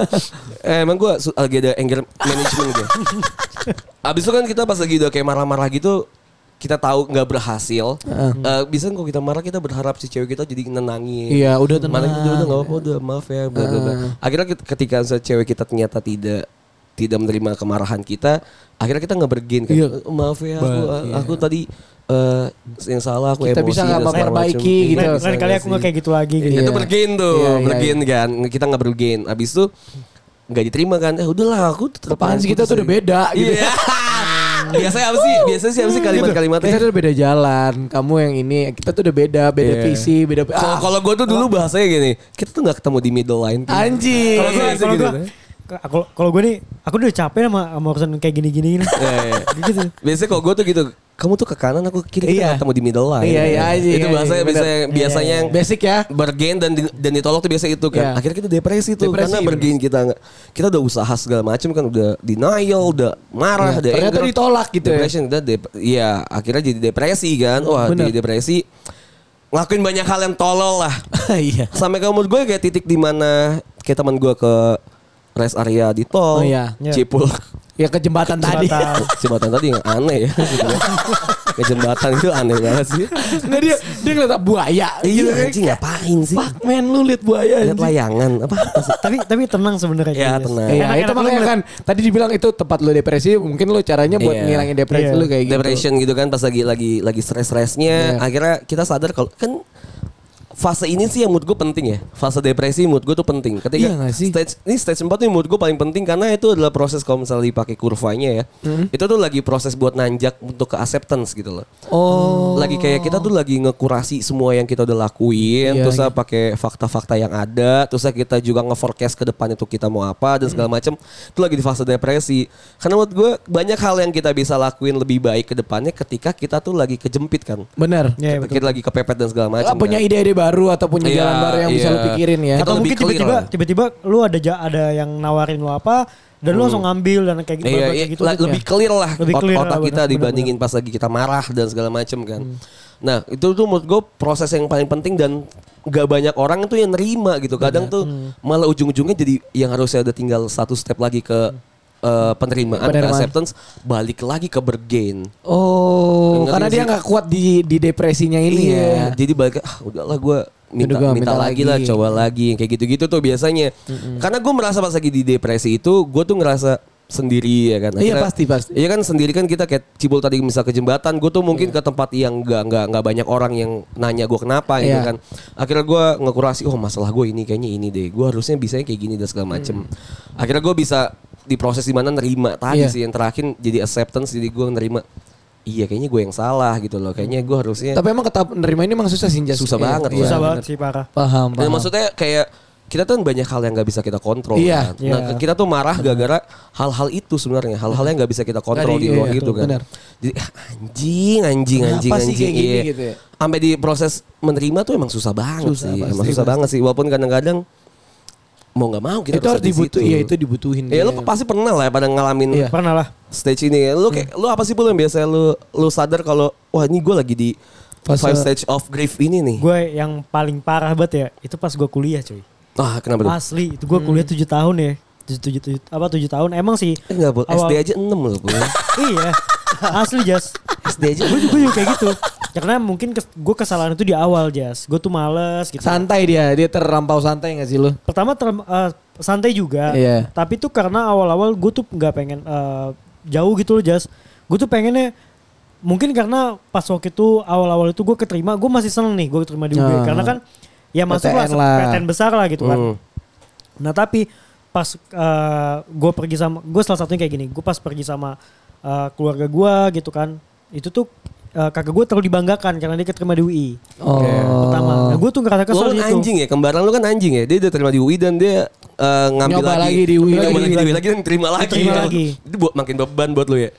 S4: eh, emang gue lagi ada anger management gue. Abis itu kan kita pas lagi udah kayak marah-marah gitu, kita tahu nggak berhasil. Eh, bisa kalau kita marah kita berharap si cewek kita jadi nenangin.
S3: Iya, udah tenang.
S4: Marah udah udah nggak apa-apa, udah maaf ya. Bla, bla, bla. Akhirnya kita- ketika se- cewek kita ternyata tidak tidak menerima kemarahan kita, akhirnya kita nggak bergen kan.
S3: Iya.
S4: "Eh, Maaf ya, aku, aku tadi eh, yang salah aku
S3: Kita
S4: emosi
S3: bisa
S4: dan
S3: nggak
S4: segala macam."
S3: memperbaiki
S4: Iya,
S3: gitu.
S5: Lain
S4: bisa
S5: lain Nah, kali
S4: nggak
S5: aku nggak
S4: sih?
S5: kayak gitu lagi gitu.
S4: Itu
S3: Iya.
S4: bergain tuh,
S3: Iya, iya,
S4: bergain kan. Kita nggak bergain. Abis itu nggak diterima kan? Ya udahlah, aku tetap
S3: Apaan sih kita tuh udah beda gitu.
S4: Iya. biasanya apa sih? Biasanya sih ya? apa sih
S3: Kita
S4: kalimat-kalimatnya?
S3: tuh udah beda jalan. Kamu yang ini, kita tuh udah beda, beda
S4: Iya.
S3: visi, beda.
S4: Kalau
S3: Ah,
S4: kalau gue tuh dulu bahasanya gini, kita tuh nggak ketemu di middle line. tuh.
S3: anjing.
S5: Kalau gue,
S4: Iya,
S5: kalau
S4: gitu
S5: gue,
S4: deh.
S5: kalau kalau gue nih, aku udah capek sama sama urusan kayak gini-gini.
S4: Iya, iya.
S5: gitu.
S4: Biasanya kalau gue tuh gitu, kamu tuh ke kanan, aku ke kiri, kita
S3: Iya.
S4: nggak ketemu di middle line.
S3: Iya, iya, iya,
S4: Itu
S3: iya,
S4: bahasanya
S3: iya,
S4: biasanya biasanya yang
S3: Basic ya.
S4: bergain dan di- dan ditolak tuh biasa itu kan.
S3: Iya.
S4: Akhirnya kita depresi tuh
S3: Depresi,
S4: karena bergain kita nggak kita udah usaha segala macam kan udah denial, udah marah,
S3: Iya,
S4: udah
S3: ternyata
S4: anger.
S3: ditolak gitu ya.
S4: Depression udah dep- iya, akhirnya jadi depresi kan. Wah,
S3: Bener.
S4: jadi depresi ngelakuin banyak hal yang tolol lah.
S3: Iya.
S4: Sampai ke umur gue kayak titik di mana kayak teman gue ke rest area di
S3: Oh,
S4: tol,
S3: iya.
S4: Cipul,
S3: Ya ke jembatan tadi.
S5: Jembatan.
S4: jembatan tadi yang aneh ya. ke jembatan itu aneh banget sih.
S3: Nggak dia dia ngeliat buaya.
S4: Iya
S3: Gitu kan.
S4: anjing Iya. ngapain sih?
S3: Fuck man lu liat buaya.
S4: Lihat
S3: anjing.
S4: layangan apa?
S5: tapi tapi tenang sebenarnya.
S4: Ya
S5: Julius.
S4: tenang.
S3: Iya, itu
S5: Enak-enak
S3: makanya
S5: banget.
S3: kan tadi dibilang itu tempat lu depresi, mungkin lu caranya buat
S4: Iya.
S3: ngilangin depresi
S5: Iya.
S3: lu kayak gitu.
S4: depression gitu kan pas lagi lagi lagi stres-stresnya
S3: Iya.
S4: akhirnya kita sadar kalau kan fase ini sih yang menurut gue penting ya fase depresi menurut gue tuh penting ketika
S3: Iya nggak sih?
S4: stage ini stage 4 nih menurut gue paling penting karena itu adalah proses kalau misalnya dipakai kurvanya ya
S3: Hmm.
S4: itu tuh lagi proses buat nanjak untuk ke acceptance gitu loh
S3: Oh.
S4: lagi kayak kita tuh lagi ngekurasi semua yang kita udah lakuin
S3: Iya,
S4: terus
S3: iya.
S4: ah, pakai fakta-fakta yang ada terus ah, kita juga nge-forecast ke depan itu kita mau apa dan
S5: Hmm.
S4: segala macam itu lagi di fase depresi karena menurut gue banyak hal yang kita bisa lakuin lebih baik ke depannya ketika kita tuh lagi kejempit kan
S3: Bener.
S5: Iya, betul.
S4: kita lagi kepepet dan segala
S3: Lah,
S4: macam
S3: punya
S4: kan.
S3: ide-ide baru atau punya
S4: Iya,
S3: jalan baru yang bisa
S4: iya.
S3: lu pikirin ya.
S4: Kita
S5: Atau
S4: lebih
S5: mungkin
S4: clear
S5: tiba-tiba
S4: lah.
S5: tiba-tiba lu ada ja- ada yang nawarin lu apa dan lu langsung ngambil dan kayak gitu,
S4: Hmm. Iya,
S5: kayak
S4: iya,
S5: gitu
S4: la-
S5: gitu.
S4: lebih clear lah
S5: Lebih
S4: ot-
S5: clear lah,
S4: otak kita
S5: benar,
S4: dibandingin pas lagi kita marah dan segala macam kan. Nah itu tuh menurut gue proses yang paling penting dan gak banyak orang tuh yang nerima gitu. Kadang tuh
S5: Hmm.
S4: malah ujung-ujungnya jadi yang harusnya ada tinggal satu step lagi ke eh, penerimaan, ke
S3: Penerimaan.
S4: acceptance, balik lagi ke bergain.
S3: Oh,
S4: Ngerti
S3: karena
S4: nggak
S3: dia
S4: sih?
S3: nggak kuat di di depresinya ini ya.
S4: Iya. Jadi balik ah udahlah gue
S3: Udah
S4: minta,
S3: gua
S4: minta
S3: minta
S4: lagi lah
S3: lagi.
S4: coba lagi kayak gitu-gitu tuh biasanya. Karena gue merasa pas lagi di depresi itu gue tuh ngerasa sendiri ya kan.
S3: Iya, pasti, pasti.
S4: Iya kan sendiri kan kita kayak cibul tadi misal ke jembatan, gue tuh
S3: Iya.
S4: mungkin ke tempat yang nggak nggak nggak banyak orang yang nanya gue kenapa gitu
S3: Iya.
S4: kan. Akhirnya gue ngekurasi, oh masalah gue ini kayaknya ini deh. Gue harusnya bisanya kayak gini dan
S3: Mm.
S4: segala macem. Akhirnya gue bisa di proses dimana nerima tadi
S3: Iya.
S4: sih yang terakhir jadi acceptance jadi gue nerima iya kayaknya gue yang salah gitu loh kayaknya gue harusnya
S3: Tapi emang kata nerima ini emang susah sih Jas.
S4: Susah
S3: Iya,
S4: banget,
S3: iya.
S5: Susah
S4: Iya,
S5: banget sih parah.
S3: Paham,
S4: Dan
S3: paham.
S4: maksudnya kayak kita tuh banyak hal yang nggak bisa kita kontrol.
S3: Iya,
S4: kan? Nah,
S5: iya.
S4: kita tuh marah gara-gara hal-hal itu sebenarnya, hal-hal yang nggak bisa kita kontrol
S3: Dari-
S4: di luar
S3: iya,
S4: gitu
S3: betul,
S4: kan.
S3: benar.
S4: Jadi ah, anjing, anjing,
S3: Kenapa
S4: anjing,
S3: sih
S4: anjing.
S3: kayak gini
S4: iya.
S3: gitu ya?
S4: Sampai di proses menerima tuh emang susah banget
S3: Susah,
S4: sih,
S3: pasti,
S4: emang susah
S3: pasti.
S4: banget sih. Walaupun kadang-kadang mau nggak mau kita
S3: itu harus
S4: ada di
S3: dibutuh,
S4: situ.
S3: iya itu dibutuhin.
S4: Ya lu
S3: dia.
S4: pasti pernah lah ya pada ngalamin
S3: Iya.
S5: Pernah lah.
S4: stage ini ya. Lu kayak lu apa sih pul yang biasanya lu lu sadar kalau wah ini gue lagi di
S3: Fase-
S4: five stage of grief ini nih.
S5: Gue yang paling parah banget ya itu pas gue kuliah cuy.
S4: Ah kenapa tuh?
S5: Asli itu gue kuliah
S4: Hmm.
S5: 7 tahun ya. 7 tujuh tujuh- apa 7 tahun emang sih.
S4: Eh, Enggak, Pul.
S5: awal-
S4: SD aja 6 loh, Pul.
S5: Iya. Asli Jas.
S4: SD aja
S5: Gue juga kayak gitu. Karena mungkin gue kesalahan itu di awal Jas. Gue tuh males gitu.
S3: Santai dia, dia terlampau santai gak sih lu?
S5: Pertama ter, eh, santai juga.
S3: Iya.
S5: Tapi tuh karena awal-awal gue tuh nggak pengen eh, jauh gitu loh Jas. Gue tuh pengennya mungkin karena pas waktu itu awal-awal itu gue keterima, gue masih seneng nih gue keterima di UB
S3: Nah.
S5: karena kan ya masuk lah
S3: PTN lah.
S5: PTN besar lah gitu kan.
S4: Hmm.
S5: Nah tapi pas gue pergi sama gue salah satunya kayak gini, gue pas pergi sama eh, keluarga gue gitu kan, itu tuh eh, kakak gue terlalu dibanggakan karena dia keterima di UI
S3: Oh.
S5: pertama. Nah gue tuh ngerasa
S4: Lu
S5: kesel
S4: kan
S5: gitu.
S4: anjing ya, kembaran lu kan anjing ya. Dia udah terima di UI dan dia eh, ngambil
S3: Nyoba
S4: lagi.
S3: lagi di UI.
S4: Nyoba
S3: Lagi
S4: lagi
S3: di
S4: di UI lagi dan terima lagi.
S5: Terima lagi.
S4: Itu buat makin beban buat lu ya.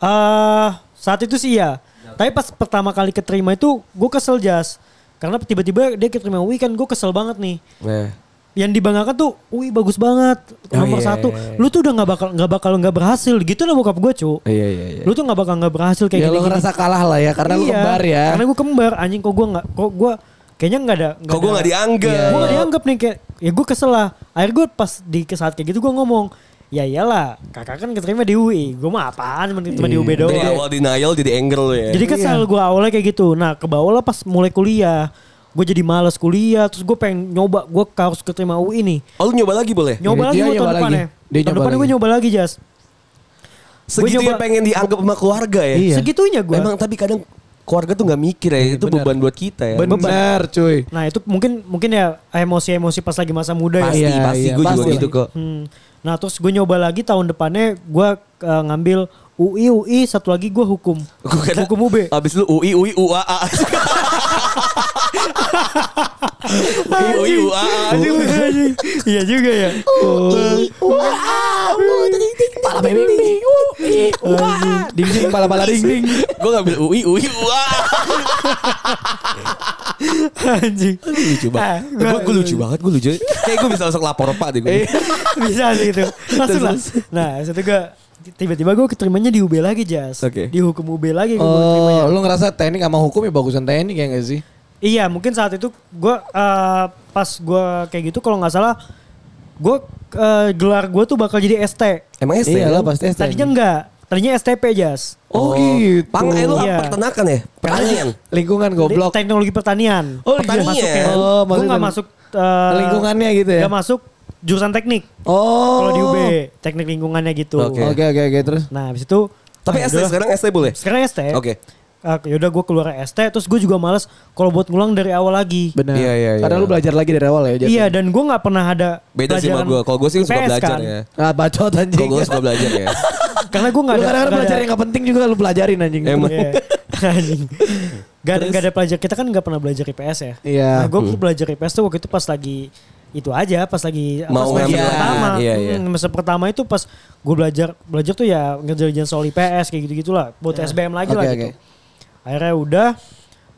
S5: Eh, saat itu sih ya. Tapi pas pertama kali keterima itu gue kesel jas karena tiba-tiba dia keterima UI kan gue kesel banget nih.
S4: Nah.
S5: Yang dibanggakan tuh UI bagus banget
S4: Oh,
S5: nomor
S4: iya,
S5: satu.
S4: iya, iya.
S5: Lu tuh udah nggak bakal nggak bakal nggak berhasil gitu lah bokap gue cu.
S4: Iya iya iya.
S5: Lu tuh nggak bakal nggak berhasil kayak
S3: ya lu
S5: gini-gini.
S3: ngerasa kalah lah ya karena lu
S5: Iya,
S3: kembar ya.
S5: Karena gue kembar anjing kok gue nggak kok gue kayaknya nggak ada.
S4: Kok gue
S3: Iya,
S4: gak dianggap?
S5: Gue nggak dianggap nih kayak ya gue kesel lah. Akhirnya gue pas di ke saat kayak gitu gue ngomong ya iyalah kakak kan keterima di UI. Gue mah apaan cuma cuma di UB doang.
S4: Dari awal denial jadi anger lu ya.
S5: Jadi
S3: Iya.
S5: kesel gue awalnya kayak gitu. Nah ke bawah lah pas mulai kuliah. Gue jadi males kuliah. Terus gue pengen nyoba gue harus keterima UI nih.
S4: Oh lu nyoba lagi boleh?
S3: Iya, Dia
S5: Nyoba lagi
S3: nyoba
S5: gue tahun
S3: lagi.
S5: depannya.
S3: Dia
S5: Tahun
S3: nyoba
S5: depannya gue
S3: lagi.
S5: nyoba lagi Jas.
S4: Segitunya ya
S5: nyoba-
S4: pengen dianggap sama keluarga ya.
S3: Iya.
S5: Segitunya gue.
S4: Emang tapi kadang keluarga tuh gak mikir ya. Itu
S3: benar.
S4: beban buat kita ya.
S3: Bener cuy.
S5: Nah itu mungkin mungkin ya emosi-emosi pas lagi masa muda ya.
S4: Pasti,
S3: Iya,
S4: pasti
S3: iya,
S4: gue juga
S3: pasti.
S4: gitu kok.
S5: Hmm. Nah terus gue nyoba lagi tahun depannya gue eh, ngambil UI UI satu lagi gue hukum
S4: Gua kira-
S5: hukum UB.
S4: Abis lu UI UI UAA. UI UI
S5: Aduh,
S4: UAA.
S5: anjing. Iya juga ya.
S3: Pala bebek. Ding ding pala pala
S4: Iya
S3: ding ding.
S4: Gue ngambil UI UI UAA.
S5: Anjing.
S4: lucu banget.
S5: Ah, gua- Eh,
S4: gue lucu banget, gue lucu. Kayak gue bisa langsung lapor pak deh gue.
S5: Bisa sih gitu. Langsung lah. Nah itu gue tiba-tiba gue keterimanya di UB lagi Jas.
S4: Oke.
S5: Di hukum UB lagi gue
S3: Oh, lu ngerasa teknik sama hukum ya bagusan teknik ya gak sih?
S5: Iya mungkin saat itu gue eh, pas gue kayak gitu kalau nggak salah gue eh, gelar gue tuh bakal jadi ST.
S4: Emang SD?
S3: Iya lah
S4: kan?
S3: pasti ST.
S5: Tadinya enggak. Tadinya STP Jas.
S3: Oh, gitu.
S4: Pang, eh, lu
S5: Iya.
S4: apa peternakan ya? Pertanian.
S3: Lingkungan goblok.
S5: Teknologi pertanian.
S4: Oh,
S5: Pertanian.
S4: iya.
S5: Masuknya.
S3: Oh,
S5: Gue
S3: maksudnya-
S5: gak masuk. eh,
S3: Lingkungannya gitu ya?
S5: Gak masuk jurusan teknik.
S3: Oh.
S5: Kalau di UB. Teknik lingkungannya gitu.
S4: Oke.
S3: Oke oke oke terus.
S5: Nah habis itu.
S4: Tapi ST
S5: ah, yaudah.
S4: sekarang ST boleh?
S5: Sekarang ST.
S4: ya? Oke.
S5: Ah, yaudah gue keluar ST. Terus gue juga males kalau buat ngulang dari awal lagi.
S3: Benar.
S4: Iya, iya, iya.
S3: Karena lu belajar lagi dari awal ya. Jat?
S5: Iya dan gue nggak pernah ada
S4: Beda sih sama
S5: pelajaran
S4: gue. Kalau gue sih suka
S5: IPS
S4: belajar
S5: kan.
S4: ya.
S3: Ah bacot anjing.
S4: Kalau gue suka belajar ya.
S5: Karena gue nggak
S3: Lu
S5: ada
S3: kadang-kadang
S5: nggak
S3: belajar
S5: ada-
S3: yang gak penting juga lu pelajarin anjing.
S4: Emang.
S5: Iya. Anjing. Gak ada, gak ada pelajar kita kan gak pernah belajar IPS ya.
S3: Iya.
S5: Nah,
S4: Hmm.
S5: gue belajar IPS tuh waktu itu pas lagi itu aja pas lagi
S4: Mau
S5: pas lagi
S4: ngambil
S5: pertama.
S4: lagi, iya, iya.
S5: Hmm, semester pertama itu pas gue belajar belajar tuh ya ngerjain soal IPS kayak gitu gitulah buat
S4: Iya.
S5: SBM lagi lah
S3: Oke,
S5: gitu.
S3: oke.
S5: Akhirnya udah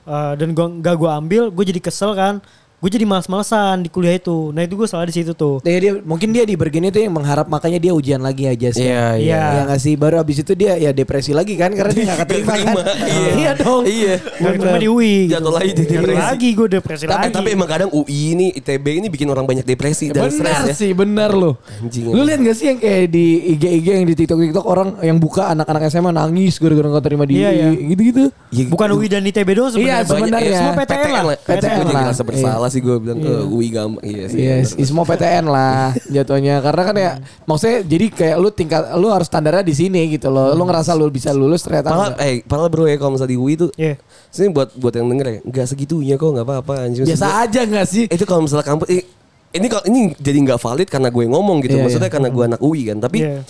S5: eh, dan gua, gak gue ambil gue jadi kesel kan. Gue jadi males-malesan di kuliah itu. Nah itu gue salah di situ tuh.
S3: Iya, dia, mungkin dia di Bergeni tuh yang mengharap makanya dia ujian lagi aja sih.
S4: Iya,
S5: iya.
S3: Iya nggak sih? Baru abis itu dia ya depresi lagi kan karena dia gak keterima kan.
S4: Iya.
S3: iya dong.
S4: Iya.
S5: Gak cuma di UI. gitu.
S4: Jatuh lagi di
S5: Jatuh
S4: depresi.
S5: lagi gue depresi
S4: tapi,
S5: lagi.
S4: tapi emang kadang UI ini, ITB ini bikin orang banyak depresi dan stres
S3: Benar
S4: ya.
S3: sih, benar loh.
S4: Anjing,
S3: Lu
S4: emang.
S3: lihat gak sih yang kayak di IG-IG yang di TikTok-Tiktok orang yang buka anak-anak SMA nangis gara-gara gak terima di
S5: Iya, iya.
S3: gitu-gitu.
S4: Ya,
S5: Bukan UI dan ITB doang
S3: Iya,
S5: sebenarnya.
S3: sebenarnya.
S4: ya.
S5: Semua PTN, lah.
S4: PTN,
S3: PTN
S4: gue jadi
S3: lah.
S4: rasa bersalah sih gue bilang ke UI gampang. Iya sih.
S3: Iya,
S4: bener.
S3: semua PTN lah jatuhnya karena kan ya maksudnya jadi kayak lu tingkat lu harus standarnya di sini gitu loh. Lu ngerasa lu bisa lulus ternyata
S4: Pala,
S3: enggak.
S4: eh, pala bro ya kalau misalnya di UI tuh.
S5: Iya.
S4: Sini buat buat yang denger ya, nggak segitunya kok, nggak apa-apa. anjing.
S3: biasa
S4: Maksud
S3: aja gak sih?
S4: gue, Itu kalau misalnya kampus, eh, ini kalau ini jadi nggak valid karena gue ngomong gitu.
S3: Iya,
S4: Maksudnya karena gue anak UI kan. Tapi
S5: Iya.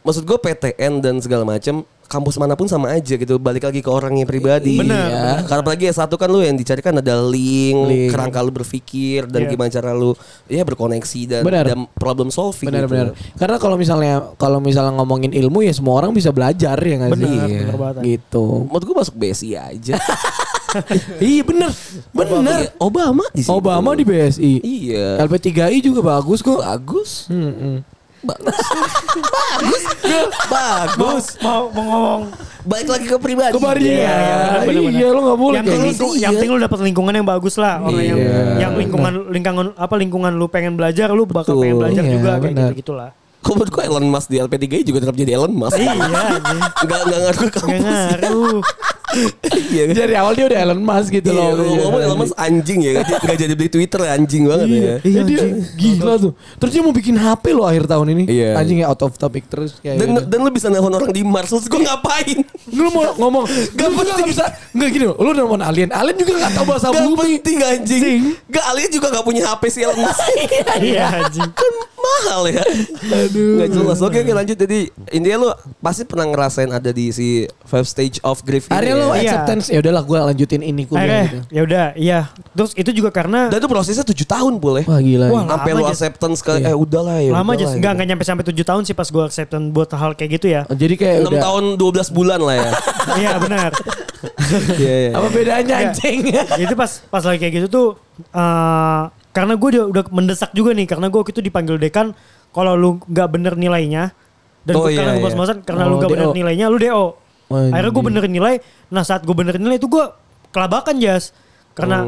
S4: maksud gue PTN dan segala macam kampus manapun sama aja gitu. Balik lagi ke orangnya pribadi.
S5: Benar,
S4: Iya. Karena apalagi ya satu kan lu yang dicari kan ada link,
S3: Link.
S4: kerangka lu berpikir dan
S5: Iya.
S4: gimana cara lu ya berkoneksi dan,
S3: Benar.
S4: dan problem solving. gitu.
S3: Benar-benar. Karena kalau misalnya kalau misalnya ngomongin ilmu ya semua orang bisa belajar ya nggak sih?
S5: Benar,
S3: Iya.
S5: benar banget.
S3: Gitu.
S4: Menurut gue masuk BSI aja.
S3: iya bener, bener.
S4: Benar. Obama di situ.
S3: Obama di BSI.
S4: Iya.
S3: LP3I juga bagus kok.
S4: Bagus.
S3: Hmm, hmm.
S4: Bagus. Bagus.
S5: Mau, mau ngomong.
S4: Baik lagi ke pribadi.
S3: Kemarin
S5: Iya,
S3: ya.
S5: iya, benar-benar.
S3: Iya, lo nggak boleh.
S5: yang, penting
S3: kayak
S5: lu,
S3: gitu.
S5: yang penting lu dapat lingkungan yang bagus lah. Orang yang,
S4: Iya.
S5: yang lingkungan, lingkungan apa lingkungan lu pengen belajar, lu bakal
S4: Betul.
S5: pengen belajar
S3: Iya,
S5: juga kayak
S3: benar.
S5: gitu gitulah.
S4: Kok menurut gue Elon Musk di LP3 juga tetap jadi Elon Musk.
S5: Iya, Uh, anjing.
S4: Enggak enggak ngaruh ke
S5: Gak
S4: kampus.
S5: ngaruh.
S4: Iya. kan?
S3: gitu. Dari awal dia udah Elon Musk gitu
S4: Iya,
S3: loh.
S4: ngomong Elon Musk anjing ya, nggak jadi beli Twitter anjing banget ya.
S3: Iya, iya, dia gila tuh. Terus dia mau bikin HP loh akhir tahun ini.
S4: Iya.
S3: Anjing ya out of topic terus kayak
S4: Dan,
S3: gitu.
S4: dan lu bisa nelfon orang di Mars, terus gue ngapain?
S3: Lu mau ngomong Gak penting bisa Gak gini loh Lu udah ngomong alien Alien juga gak tau bahasa
S4: Gak
S3: bumi
S4: penting anjing. Gak alien juga gak punya HP sih Elon Musk.
S5: Iya, anjing.
S4: kan mahal ya.
S3: Aduh.
S4: Gak jelas. Oke, oke lanjut. Jadi intinya lu pasti pernah ngerasain ada di si five stage of grief ini.
S3: Akhirnya
S4: ya.
S3: lo
S5: Iya.
S3: acceptance ya udahlah gue lanjutin ini kuliah gitu.
S5: Akhirnya, ya udah, iya. Terus itu juga karena
S4: Dan itu prosesnya 7 tahun boleh.
S3: Wah gila. ya.
S5: Wah,
S4: Sampai
S5: lama
S4: lu
S5: aja.
S4: acceptance ke eh udahlah
S3: Iya,
S4: ya.
S5: lama aja,
S4: udahlah,
S5: enggak enggak nyampe sampai 7 tahun sih pas gua acceptance buat hal kayak gitu ya.
S3: Oh, Jadi kayak Iya,
S4: gitu. 6
S3: udah
S4: tahun 12 bulan lah ya.
S5: Iya, benar.
S4: Iya iya.
S3: apa bedanya anjing?
S5: Ya, itu pas pas lagi kayak gitu tuh eh, karena gue udah, udah mendesak juga nih karena gue waktu itu dipanggil dekan kalau lu nggak bener nilainya dan
S4: Oh,
S5: gua- karena
S4: iya,
S5: gue
S4: iya.
S5: mas-masan karena lu
S3: Oh,
S5: nggak bener
S3: DO.
S5: nilainya lu do
S3: Wah,
S5: akhirnya gue
S3: anjing.
S5: benerin nilai nah saat gue benerin nilai itu gue kelabakan jas karena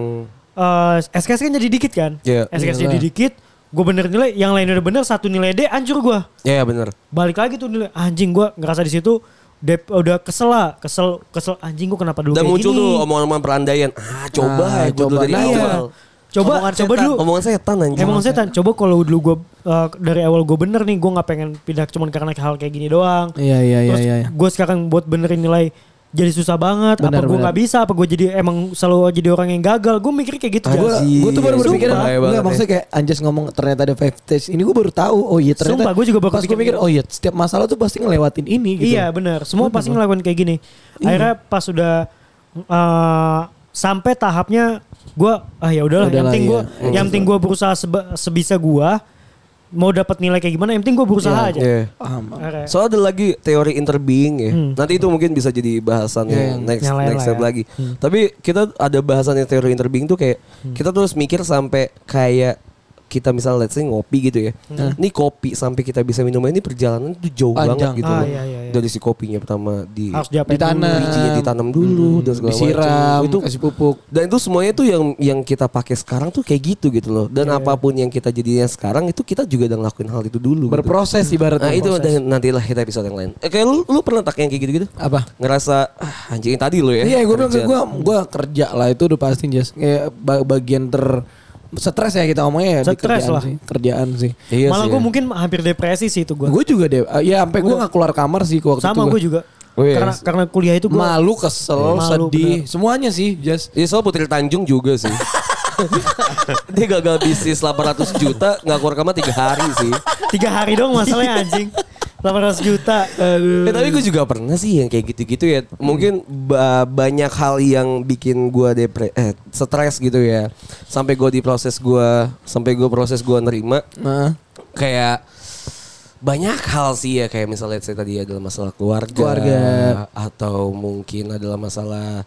S5: eh, SKS kan jadi dikit kan
S4: Oh. Iya.
S5: SKS
S3: Iyalah.
S5: jadi dikit gue benerin nilai yang lain udah bener satu nilai D hancur gue
S4: Iya benar.
S5: balik lagi tuh nilai anjing gue ngerasa di situ dep- udah kesel lah kesel kesel anjing gue kenapa dulu
S4: Dan
S5: kayak
S4: muncul
S5: gini?
S4: tuh omongan-omongan perandaian. Ah, coba
S3: Ah,
S4: ya gua dulu
S3: coba.
S4: dari
S3: Nah,
S5: Iya.
S4: awal.
S5: Coba
S4: Omongan
S5: coba
S4: setan.
S5: dulu.
S4: Omongan setan anjing.
S5: Emang setan. Coba kalau dulu gue dari awal gue bener nih, gue nggak pengen pindah cuman karena hal kayak gini doang.
S3: Iya iya iya
S5: Terus
S3: iya.
S5: gue sekarang buat benerin nilai jadi susah banget.
S3: Benar,
S5: apa gue
S3: benar.
S5: nggak bisa? Apa gue jadi emang selalu jadi orang yang gagal? Gue mikir kayak gitu.
S3: Gue
S5: Jas.
S4: Anjing,
S3: tuh baru berpikir
S4: sumpah. Bahaya banget
S3: enggak maksudnya kayak Anjas ngomong ternyata ada five stage. Ini gue baru tahu. Oh iya ternyata.
S5: Sumpah, gua juga baru
S3: pas gue
S5: pikir-
S3: mikir oh iya setiap masalah tuh pasti ngelewatin ini gitu. Iya.
S5: Iya benar. Semua pasti ngelakuin kayak gini. Akhirnya pas sudah eh, sampai tahapnya gue ah ya udahlah. Yang
S3: Udahlah,
S5: penting gue,
S3: iya.
S5: yang penting gue berusaha seba- sebisa gue. Mau dapat nilai kayak gimana? Yang penting gue berusaha aja.
S4: Iya.
S3: Paham.
S5: Akhirnya-
S4: Soalnya ada lagi teori interbeing ya. Nanti itu mungkin bisa jadi bahasan
S3: Iya,
S4: yang next
S5: Hmm. yang lain
S4: next
S5: lah
S4: step
S5: ya.
S4: lagi.
S5: Hmm.
S4: Tapi kita ada bahasan yang teori interbeing tuh kayak kita terus mikir sampai kayak kita misalnya let's say ngopi gitu ya.
S5: Hmm. Nah.
S4: Ini kopi sampai kita bisa minum ini perjalanan itu jauh
S3: Panjang.
S4: banget gitu.
S5: Ah,
S4: loh.
S5: iya, iya, iya.
S4: Dari si kopinya pertama di
S5: Harus diapain
S3: Di tanah.
S5: dulu.
S4: bijinya ditanam dulu dan segala
S3: Hmm. disiram,
S4: macam. Itu
S3: kasih pupuk.
S4: dan itu semuanya tuh yang yang kita pakai sekarang tuh kayak gitu gitu loh.
S3: Iya,
S4: Dan apapun yang kita jadinya sekarang itu kita juga udah ngelakuin hal itu dulu. gitu.
S3: Berproses ibaratnya.
S4: Nah itu dan nantilah kita episode yang lain. Eh, kayak lu lu pernah tak yang kayak gitu-gitu?
S3: Apa?
S4: Ngerasa ah, anjing yang tadi lo ya.
S3: Iya, gue bilang
S4: kerja.
S3: ke gue, gue kerja lah itu udah pasti jas. Kayak ba- bagian ter stres ya kita ngomongnya ya di
S5: Stres
S3: kerjaan
S5: lah.
S3: sih, kerjaan sih.
S4: Iya sih,
S5: Malah gue
S4: ya.
S5: mungkin hampir depresi sih itu gue.
S3: Gue juga deh, eh, ya sampai gue nggak keluar kamar sih waktu
S5: Sama
S3: itu.
S5: gue juga.
S4: Oh, iya.
S5: Karena karena kuliah itu gue
S3: malu, kesel,
S5: Malu,
S3: sedih, semuanya sih jas.
S4: Iya soal Putri Tanjung juga sih. Dia gagal bisnis 800 juta, nggak keluar kamar 3 hari sih.
S5: tiga hari doang masalahnya anjing. 800 juta.
S4: Eh, tapi gue juga pernah sih yang kayak gitu-gitu ya. Mungkin ba- banyak hal yang bikin gue depre eh, stres gitu ya. Sampai gue di proses gue, sampai gue proses gue nerima.
S3: Nah,
S4: kayak banyak hal sih ya kayak misalnya saya tadi adalah masalah keluarga,
S3: Keluarga.
S4: atau mungkin adalah masalah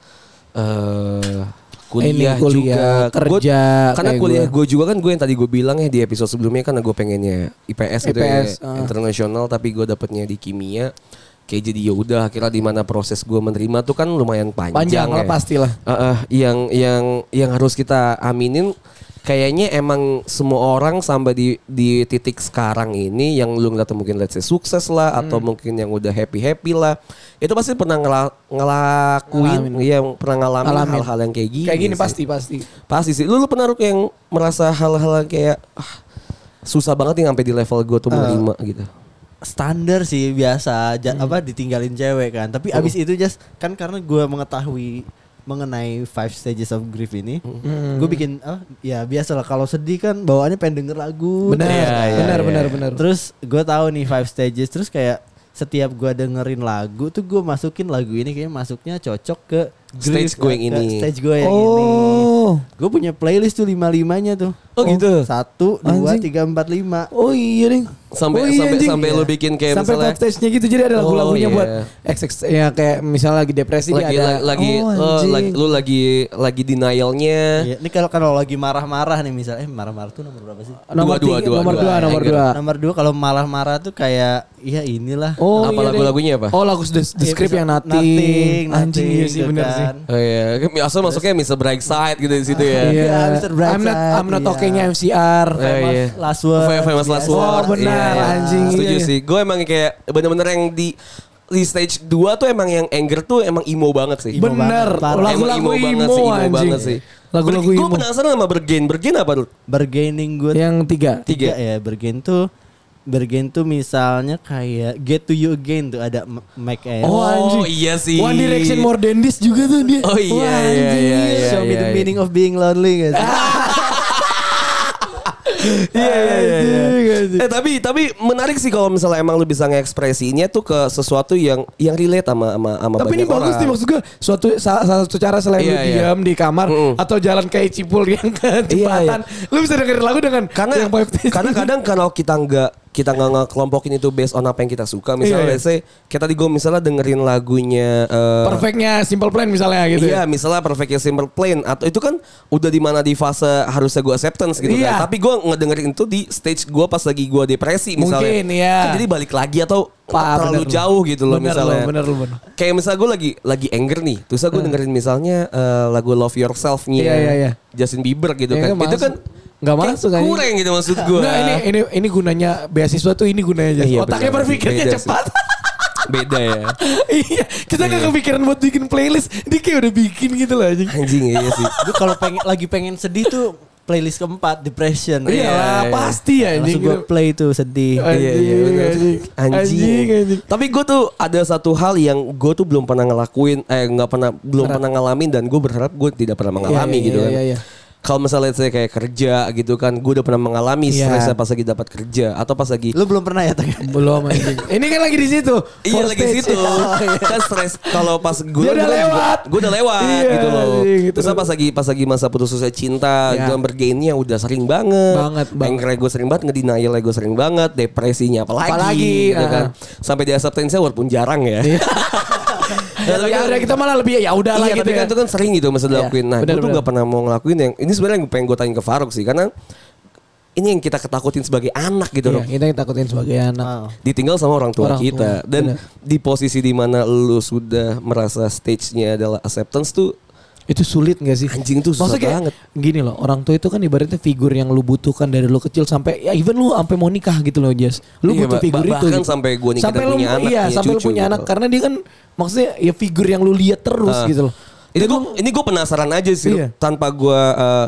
S4: eh
S3: Ini
S4: kuliah,
S3: kuliah,
S4: juga Gua-
S3: kerja,
S4: karena
S3: kayak
S4: kuliah
S3: gua.
S4: gue juga kan gue yang tadi gue bilang ya di episode sebelumnya karena gue pengennya IPS gitu ya
S3: IPS, ah.
S4: internasional tapi gue dapetnya di kimia kayak jadi ya udah akhirnya di mana proses gue menerima tuh kan lumayan panjang
S3: panjang lah
S4: ya.
S3: pastilah.
S4: Heeh, yang yang yang harus kita aminin kayaknya emang semua orang sampai di di titik sekarang ini yang lu ngeliat mungkin let's say sukses lah
S3: Hmm.
S4: atau mungkin yang udah happy happy lah itu pasti pernah ngela- ngelakuin
S3: Ngalamin.
S4: yang pernah ngalamin
S3: Ngalamin.
S4: hal-hal yang kayak gini
S3: Kayak
S5: Iya
S3: gini
S4: sih.
S3: pasti pasti.
S4: pasti sih lu, lu pernah Ruk, yang merasa hal-hal yang kayak ah, susah banget nih sampai di level gue tuh
S3: Ah.
S4: menerima gitu
S2: standar sih biasa ja-
S4: Hmm.
S2: apa ditinggalin cewek kan
S4: Oh.
S2: tapi abis itu just kan karena gue mengetahui mengenai five stages of grief ini
S4: Hmm.
S2: gue bikin ah, ya biasa lah kalau sedih kan bawaannya pengen denger lagu
S3: Benar,
S4: Iya,
S2: terus kan.
S3: benar, benar, benar.
S2: terus gue tahu nih five stages terus kayak setiap gue dengerin lagu tuh gue masukin lagu ini kayaknya masuknya cocok ke
S4: Stage gue
S2: ke-
S4: yang
S2: ke
S4: ini.
S2: stage gue yang ini
S3: Oh,
S2: gue punya playlist tuh lima limanya tuh
S4: Oh, gitu?
S2: satu dua
S3: Anjing.
S2: tiga empat lima
S3: oh iya deh.
S4: Sampai-
S3: oh, iya,
S4: sampai-
S3: anjing.
S4: sampai lu bikin kayak
S3: sampai
S4: misalnya-
S3: top stage-nya gitu jadi ada lagu-lagunya
S4: Oh, iya.
S3: buat XX ya kayak misalnya lagi depresi
S4: lagi
S3: kayak ada
S4: la- lagi,
S3: oh,
S4: eh,
S3: anjing.
S4: lagi- lu lagi lagi denialnya
S2: Iya, ini kalau kalau lagi marah-marah nih misalnya, eh marah-marah tuh nomor berapa sih?
S3: nomor
S4: Dua, dua,
S3: tiga-
S4: dua,
S3: nomor
S4: dua. Iya.
S3: dua, nomor
S4: Anger.
S3: dua.
S2: Nomor dua kalau marah-marah tuh kayak, ya inilah. Iya,
S3: Oh,
S4: Apa
S3: iya deh.
S4: lagu-lagunya apa?
S3: Oh, lagu The, the Script yang nothing. Anjing iya sih
S2: gitu
S3: bener sih.
S2: kan.
S4: Oh iya, asal masuknya Mr. Brightside gitu di situ ya.
S3: Iya,
S2: Iya, Mr. Brightside,
S3: I'm not I'm not
S2: iya.
S3: talking MCR.
S4: Eh,
S2: Famous
S4: iya.
S2: last word.
S4: Fa- Famous last
S2: Biasa.
S4: word.
S3: Oh, benar,
S4: Iya, iya.
S3: anjing,
S4: Setuju
S3: iya, iya.
S4: sih. Gue emang kayak bener-bener yang di di stage 2 tuh emang yang anger tuh emang emo banget sih.
S2: Emo
S3: Bener,
S2: banget.
S3: lagu-lagu
S4: Emang emo banget
S3: emo
S4: sih, emo
S3: anjing.
S4: banget sih.
S3: Lagu-lagu
S4: Gue
S3: emo.
S4: penasaran sama Bergen. Bergen apa lu?
S2: Bargaining good.
S3: Yang Iya, tiga.
S2: tiga ya, bargain tuh Bergen tuh misalnya kayak Get to You Again tuh ada M- Mike and
S4: Oh, iya sih.
S3: One Direction More Than This juga tuh dia.
S4: Oh iya,
S3: Wah,
S4: iya,
S3: anjing,
S4: iya,
S3: iya.
S2: Show me
S4: iya,
S2: the
S4: iya.
S2: meaning of being lonely guys.
S4: Iya, iya, iya,
S3: Anjing,
S4: iya.
S3: anjing.
S4: Eh tapi tapi menarik sih kalau misalnya emang lu bisa ngekspresinya tuh ke sesuatu yang yang relate sama sama, sama
S3: Tapi ini
S4: banyak
S3: bagus
S4: orang.
S3: nih maksud gue suatu sa- salah satu cara selain
S4: Iya,
S3: lu
S4: iya.
S3: diam di kamar
S4: Mm-mm. Iya,
S3: atau jalan kayak cipul yang ke jembatan, lu bisa dengerin lagu dengan
S4: karena
S3: yang five days.
S4: karena kadang kalau kita nggak kita nggak ngekelompokin itu based on apa yang kita suka
S3: Iya,
S4: misalnya
S3: iya.
S4: let's say kita tadi gue misalnya dengerin lagunya eh,
S3: perfectnya Simple Plan misalnya gitu.
S4: Iya, misalnya Perfect Simple Plan atau itu kan udah di mana di fase harusnya gue acceptance gitu
S3: Iya.
S4: kan. Tapi gue ngedengerin itu di stage gue pas lagi gue depresi misalnya.
S3: Mungkin, iya.
S4: Kan jadi balik lagi atau
S3: Pa, bener
S4: terlalu
S3: lu.
S4: jauh gitu loh
S3: Bener
S4: misalnya.
S3: lu, bener lu, bener. Hmm.
S4: Kayak misalnya gue lagi lagi anger nih, terus gue dengerin misalnya eh, lagu Love Yourself-nya
S3: Iya, iya, iya.
S4: Justin Bieber gitu
S3: Ya,
S4: kan.
S3: nggak
S4: Itu
S3: masuk.
S4: kan
S3: nggak
S4: kayak
S3: masuk anjing.
S4: kurang gitu maksud gue.
S3: Nggak, ini ini ini gunanya beasiswa tuh ini gunanya aja.
S4: Iya,
S3: Otaknya
S4: bener.
S3: berpikirnya
S4: Beda sih.
S3: cepat.
S4: Beda ya.
S3: iya, kita nggak kepikiran buat bikin playlist, dia kayak udah bikin gitu loh anjing.
S4: Anjing iya sih.
S2: Gue kalau pengen lagi pengen sedih tuh playlist keempat depression.
S3: Iya lah,
S4: iya.
S3: pasti ya anjing.
S2: Langsung gue play tuh sedih.
S3: Anjing,
S4: Iya, iya, bener.
S3: anjing. Anjing, anjing.
S4: Tapi gue tuh ada satu hal yang gue tuh belum pernah ngelakuin, eh nggak pernah belum pernah ngalamin dan gue berharap gue tidak pernah mengalami
S3: iya,
S4: gitu
S3: iya,
S4: kan.
S3: iya, iya.
S4: Kalau misalnya saya kayak kerja gitu kan, gue udah pernah mengalami
S3: Iya.
S4: stresnya pas lagi dapat kerja atau pas lagi
S2: Lu belum pernah ya Tang?
S3: Belum anjing. ini kan lagi di situ.
S4: Iya
S3: Four
S4: lagi
S3: stage. Oh, iya.
S4: situ kan stres kalau pas gue
S3: Dia udah lewat.
S4: gue udah lewat
S3: Iya,
S4: gitu loh
S3: iya, gitu.
S4: terus pas lagi pas lagi masa putus susah cinta
S3: Iya.
S4: gue bergainnya udah sering banget
S3: Banget, banget.
S4: banget gue sering banget ngedenial gue sering banget depresinya apalagi,
S3: Apalagi,
S4: gitu kan
S3: ah.
S4: sampai di acceptance walaupun jarang ya kan
S3: Ya, tapi ya udah kita malah lebih ya udah lah
S4: iya,
S3: gitu
S4: tapi kan
S3: kan.
S4: itu kan sering gitu masa
S3: Iya,
S4: dilakuin. Nah, gue
S3: benar,
S4: tuh
S3: benar.
S4: gak pernah mau ngelakuin yang ini sebenarnya yang pengen gue tanya ke Faruk sih karena ini yang kita ketakutin sebagai anak gitu
S3: Iya,
S4: Rob.
S3: kita yang takutin sebagai anak.
S2: Ah.
S4: ditinggal sama orang tua
S3: Orang tua,
S4: kita dan
S3: benar.
S4: di posisi dimana lu sudah merasa stage-nya adalah acceptance tuh
S3: Itu sulit gak sih?
S4: Anjing itu susah
S3: Maksudnya kayak
S4: banget.
S3: Gini loh, orang tua itu kan ibaratnya figur yang lu butuhkan dari lu kecil sampai ya even lu sampai mau nikah gitu loh, Jas. Lu
S4: Iya,
S3: butuh
S4: bah-
S3: figur
S4: bah-
S3: itu.
S4: bahkan
S3: gitu.
S4: sampai gua nikah
S3: sampai
S4: dan
S3: lu,
S4: punya anak,
S3: Iya,
S4: punya
S3: sampai lu
S4: cucu
S3: punya
S4: gitu.
S3: anak karena dia kan maksudnya ya figur yang lu lihat terus
S4: Ah.
S3: gitu loh.
S4: Ini
S3: Dan
S4: gue
S3: lu-
S4: ini gue penasaran aja sih
S3: Iya.
S4: tanpa gue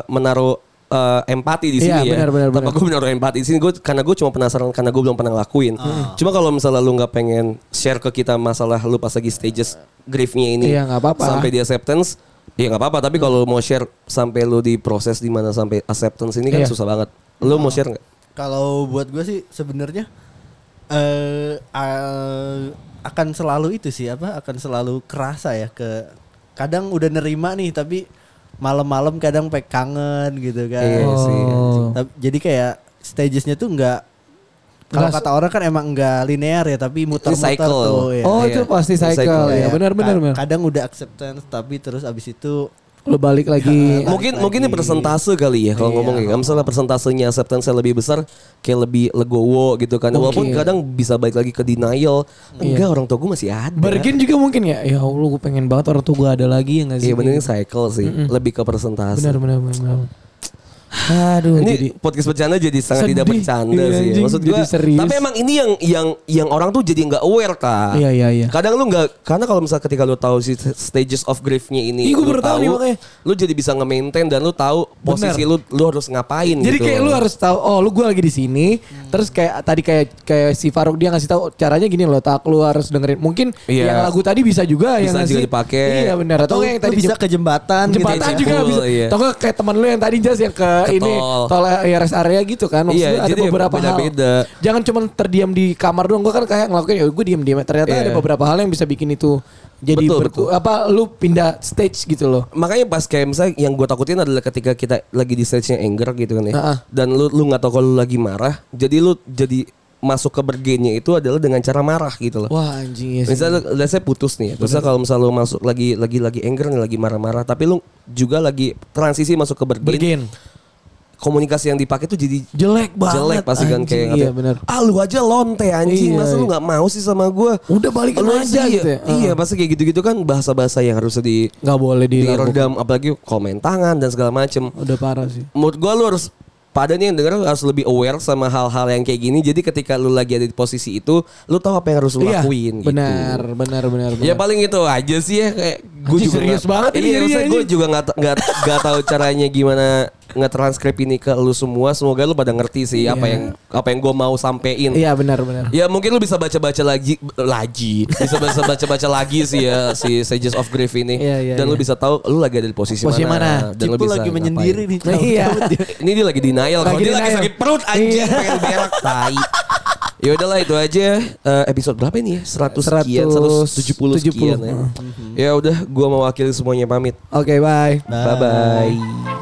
S4: menaruh eh, empati di
S3: Iya,
S4: sini ya.
S3: benar, benar,
S4: tanpa
S3: benar.
S4: gue menaruh empati di sini gue karena gue cuma penasaran karena gue belum pernah ngelakuin. Cuma kalau misalnya lu nggak pengen share ke kita masalah lu pas lagi stages griefnya ini
S3: Iya, nggak apa-apa.
S4: sampai di acceptance ya nggak apa-apa tapi kalau mau share sampai lu di proses di mana sampai acceptance ini kan
S3: Iya.
S4: susah banget. Lu mau share nggak?
S2: Kalau buat gue sih sebenarnya eh eh, akan selalu itu sih apa akan selalu kerasa ya ke kadang udah nerima nih tapi malam-malam kadang pek kangen gitu kan.
S4: Iya sih.
S3: Oh.
S2: Tap- Jadi kayak stagesnya tuh enggak kalau
S3: Nggak-
S2: kata orang kan emang enggak linear ya tapi muter-muter
S4: cycle.
S2: tuh ya.
S3: Oh,
S4: Iya.
S3: itu pasti cycle.
S4: Cycle,
S3: ya,
S4: iya.
S3: benar benar
S2: Ka-
S3: benar.
S2: Kadang udah acceptance tapi terus abis itu
S3: Lu balik lagi.
S4: mungkin mungkin ini persentase kali ya kalau ngomong ya. Kalau Misalnya persentasenya acceptance lebih besar kayak lebih legowo gitu kan. Walaupun
S3: Mungkin. Iya.
S4: kadang bisa balik lagi ke denial. Enggak orang tua gue masih ada.
S3: Bergen juga mungkin ya. Ya Allah, gue pengen banget orang tua gue ada lagi ya gak sih?
S4: Iya bener ini cycle sih, lebih ke persentase.
S3: Benar benar benar. benar. Aduh,
S4: Ini
S3: Oh, jadi
S4: podcast bercanda jadi sangat tidak
S3: Sedih.
S4: bercanda
S3: Iya,
S4: sih.
S3: anjing,
S4: Maksud
S3: jadi
S4: gua,
S3: serius.
S4: tapi emang ini yang yang yang orang tuh jadi nggak aware kak.
S3: Iya, iya, iya.
S4: Kadang lu nggak, karena kalau misalnya ketika lu tahu si stages of grief-nya
S3: Ih,
S4: ini,
S3: gua
S4: lu
S3: baru tahu nih, makanya.
S4: lu jadi bisa nge-maintain dan lu tahu posisi lu lu harus ngapain.
S3: Jadi
S4: gitu Hmm.
S3: kayak
S4: loh.
S3: lu harus tahu, oh lu gue lagi di sini. Terus kayak tadi kayak kayak si Faruk dia ngasih tahu caranya gini loh, tak lu harus dengerin. Mungkin
S4: Iya.
S3: yang lagu tadi bisa juga yang
S4: Bisa juga
S3: ngasih-
S4: dipakai.
S3: Iya benar. Atau kayak yang
S2: lu
S3: tadi
S2: bisa
S3: jep-
S2: ke jembatan, gitu
S3: jembatan
S2: ya.
S4: Jep-
S3: juga
S4: Jepul,
S3: bisa.
S4: iya.
S3: Atau nggak kayak teman lu yang tadi jas yang ke,
S4: Ke
S3: ini
S4: tol.
S3: tol ya rest area gitu kan. Maksudnya
S4: Iya,
S3: ada
S4: jadi
S3: beberapa hal.
S4: beda-beda.
S3: Jangan cuma terdiam di kamar doang. Gue kan kayak ngelakuin ya gue diam-diam. Ternyata
S4: Iya.
S3: ada beberapa hal yang bisa bikin itu jadi
S4: Betul,
S3: berku-
S4: betul.
S3: apa lu pindah stage gitu loh.
S4: makanya pas kayak misalnya yang gue takutin adalah ketika kita lagi di stage-nya anger gitu kan ya.
S3: Heeh.
S4: Dan lu lu nggak tahu kalau lu lagi marah, jadi lu jadi masuk ke bergennya itu adalah dengan cara marah gitu loh.
S3: Wah anjing ya sih.
S4: Misalnya let's say putus nih. ya. Terus kalau misalnya lu masuk lagi lagi lagi anger nih, lagi marah-marah, tapi lu juga lagi transisi masuk ke bergen.
S3: Bergen.
S4: Komunikasi yang dipakai tuh jadi
S3: Jelek banget.
S4: jelek pasti kan
S3: anjing.
S4: kayak
S3: Iya
S4: ngatain,
S3: benar.
S4: Ah lu aja lonte anjing,
S3: Iya,
S4: masa lu
S3: iya.
S4: nggak mau sih sama gue?
S3: Udah balikin aja gitu ya.
S4: Iya,
S3: Heeh.
S4: pasti kayak gitu-gitu kan bahasa-bahasa yang harus di
S3: Gak boleh dilakukan.
S4: diredam apalagi komen tangan dan segala macem
S3: Udah parah sih.
S4: menurut gua lu harus pada nih yang denger lu harus lebih aware sama hal-hal yang kayak gini. Jadi ketika lu lagi ada di posisi itu, lu tahu apa yang harus lu lakuin gitu.
S3: Iya, benar, benar, benar, benar.
S4: Ya paling itu aja sih ya kayak gue
S3: Anjing,
S4: juga
S3: serius
S4: nggak-
S3: banget ini
S4: Iya,
S3: jadinya,
S4: maksudnya gue
S3: anjing.
S4: juga nggak ta- nggak nggak tahu caranya gimana nge-transkrip ini ke lu semua. Semoga lu pada ngerti sih apa yang apa yang gua mau sampein.
S3: Iya benar, benar.
S4: Ya mungkin lu bisa baca-baca lagi lagi bisa bisa baca-baca lagi sih ya si Sages of Grief ini
S3: Iya, iya,
S4: dan lu
S3: iya.
S4: bisa tahu lu lagi ada di posisi,
S3: Posisi
S4: mana,
S3: mana?
S4: dan lu
S2: Cipul
S4: bisa
S2: lagi
S4: ngapain.
S2: menyendiri nih.
S3: Iya.
S4: Ini dia lagi denial
S3: Lagi
S4: kalau dia lagi
S3: denial.
S4: sakit perut anjing
S3: Iya.
S4: pengen berak tai. Ya udahlah itu aja Eh, episode berapa ini ya? 100 sekian, 170 sekian ya. Ya udah gua mewakili semuanya pamit.
S3: Oke, Hmm. bye.
S2: Iya.
S4: Bye bye.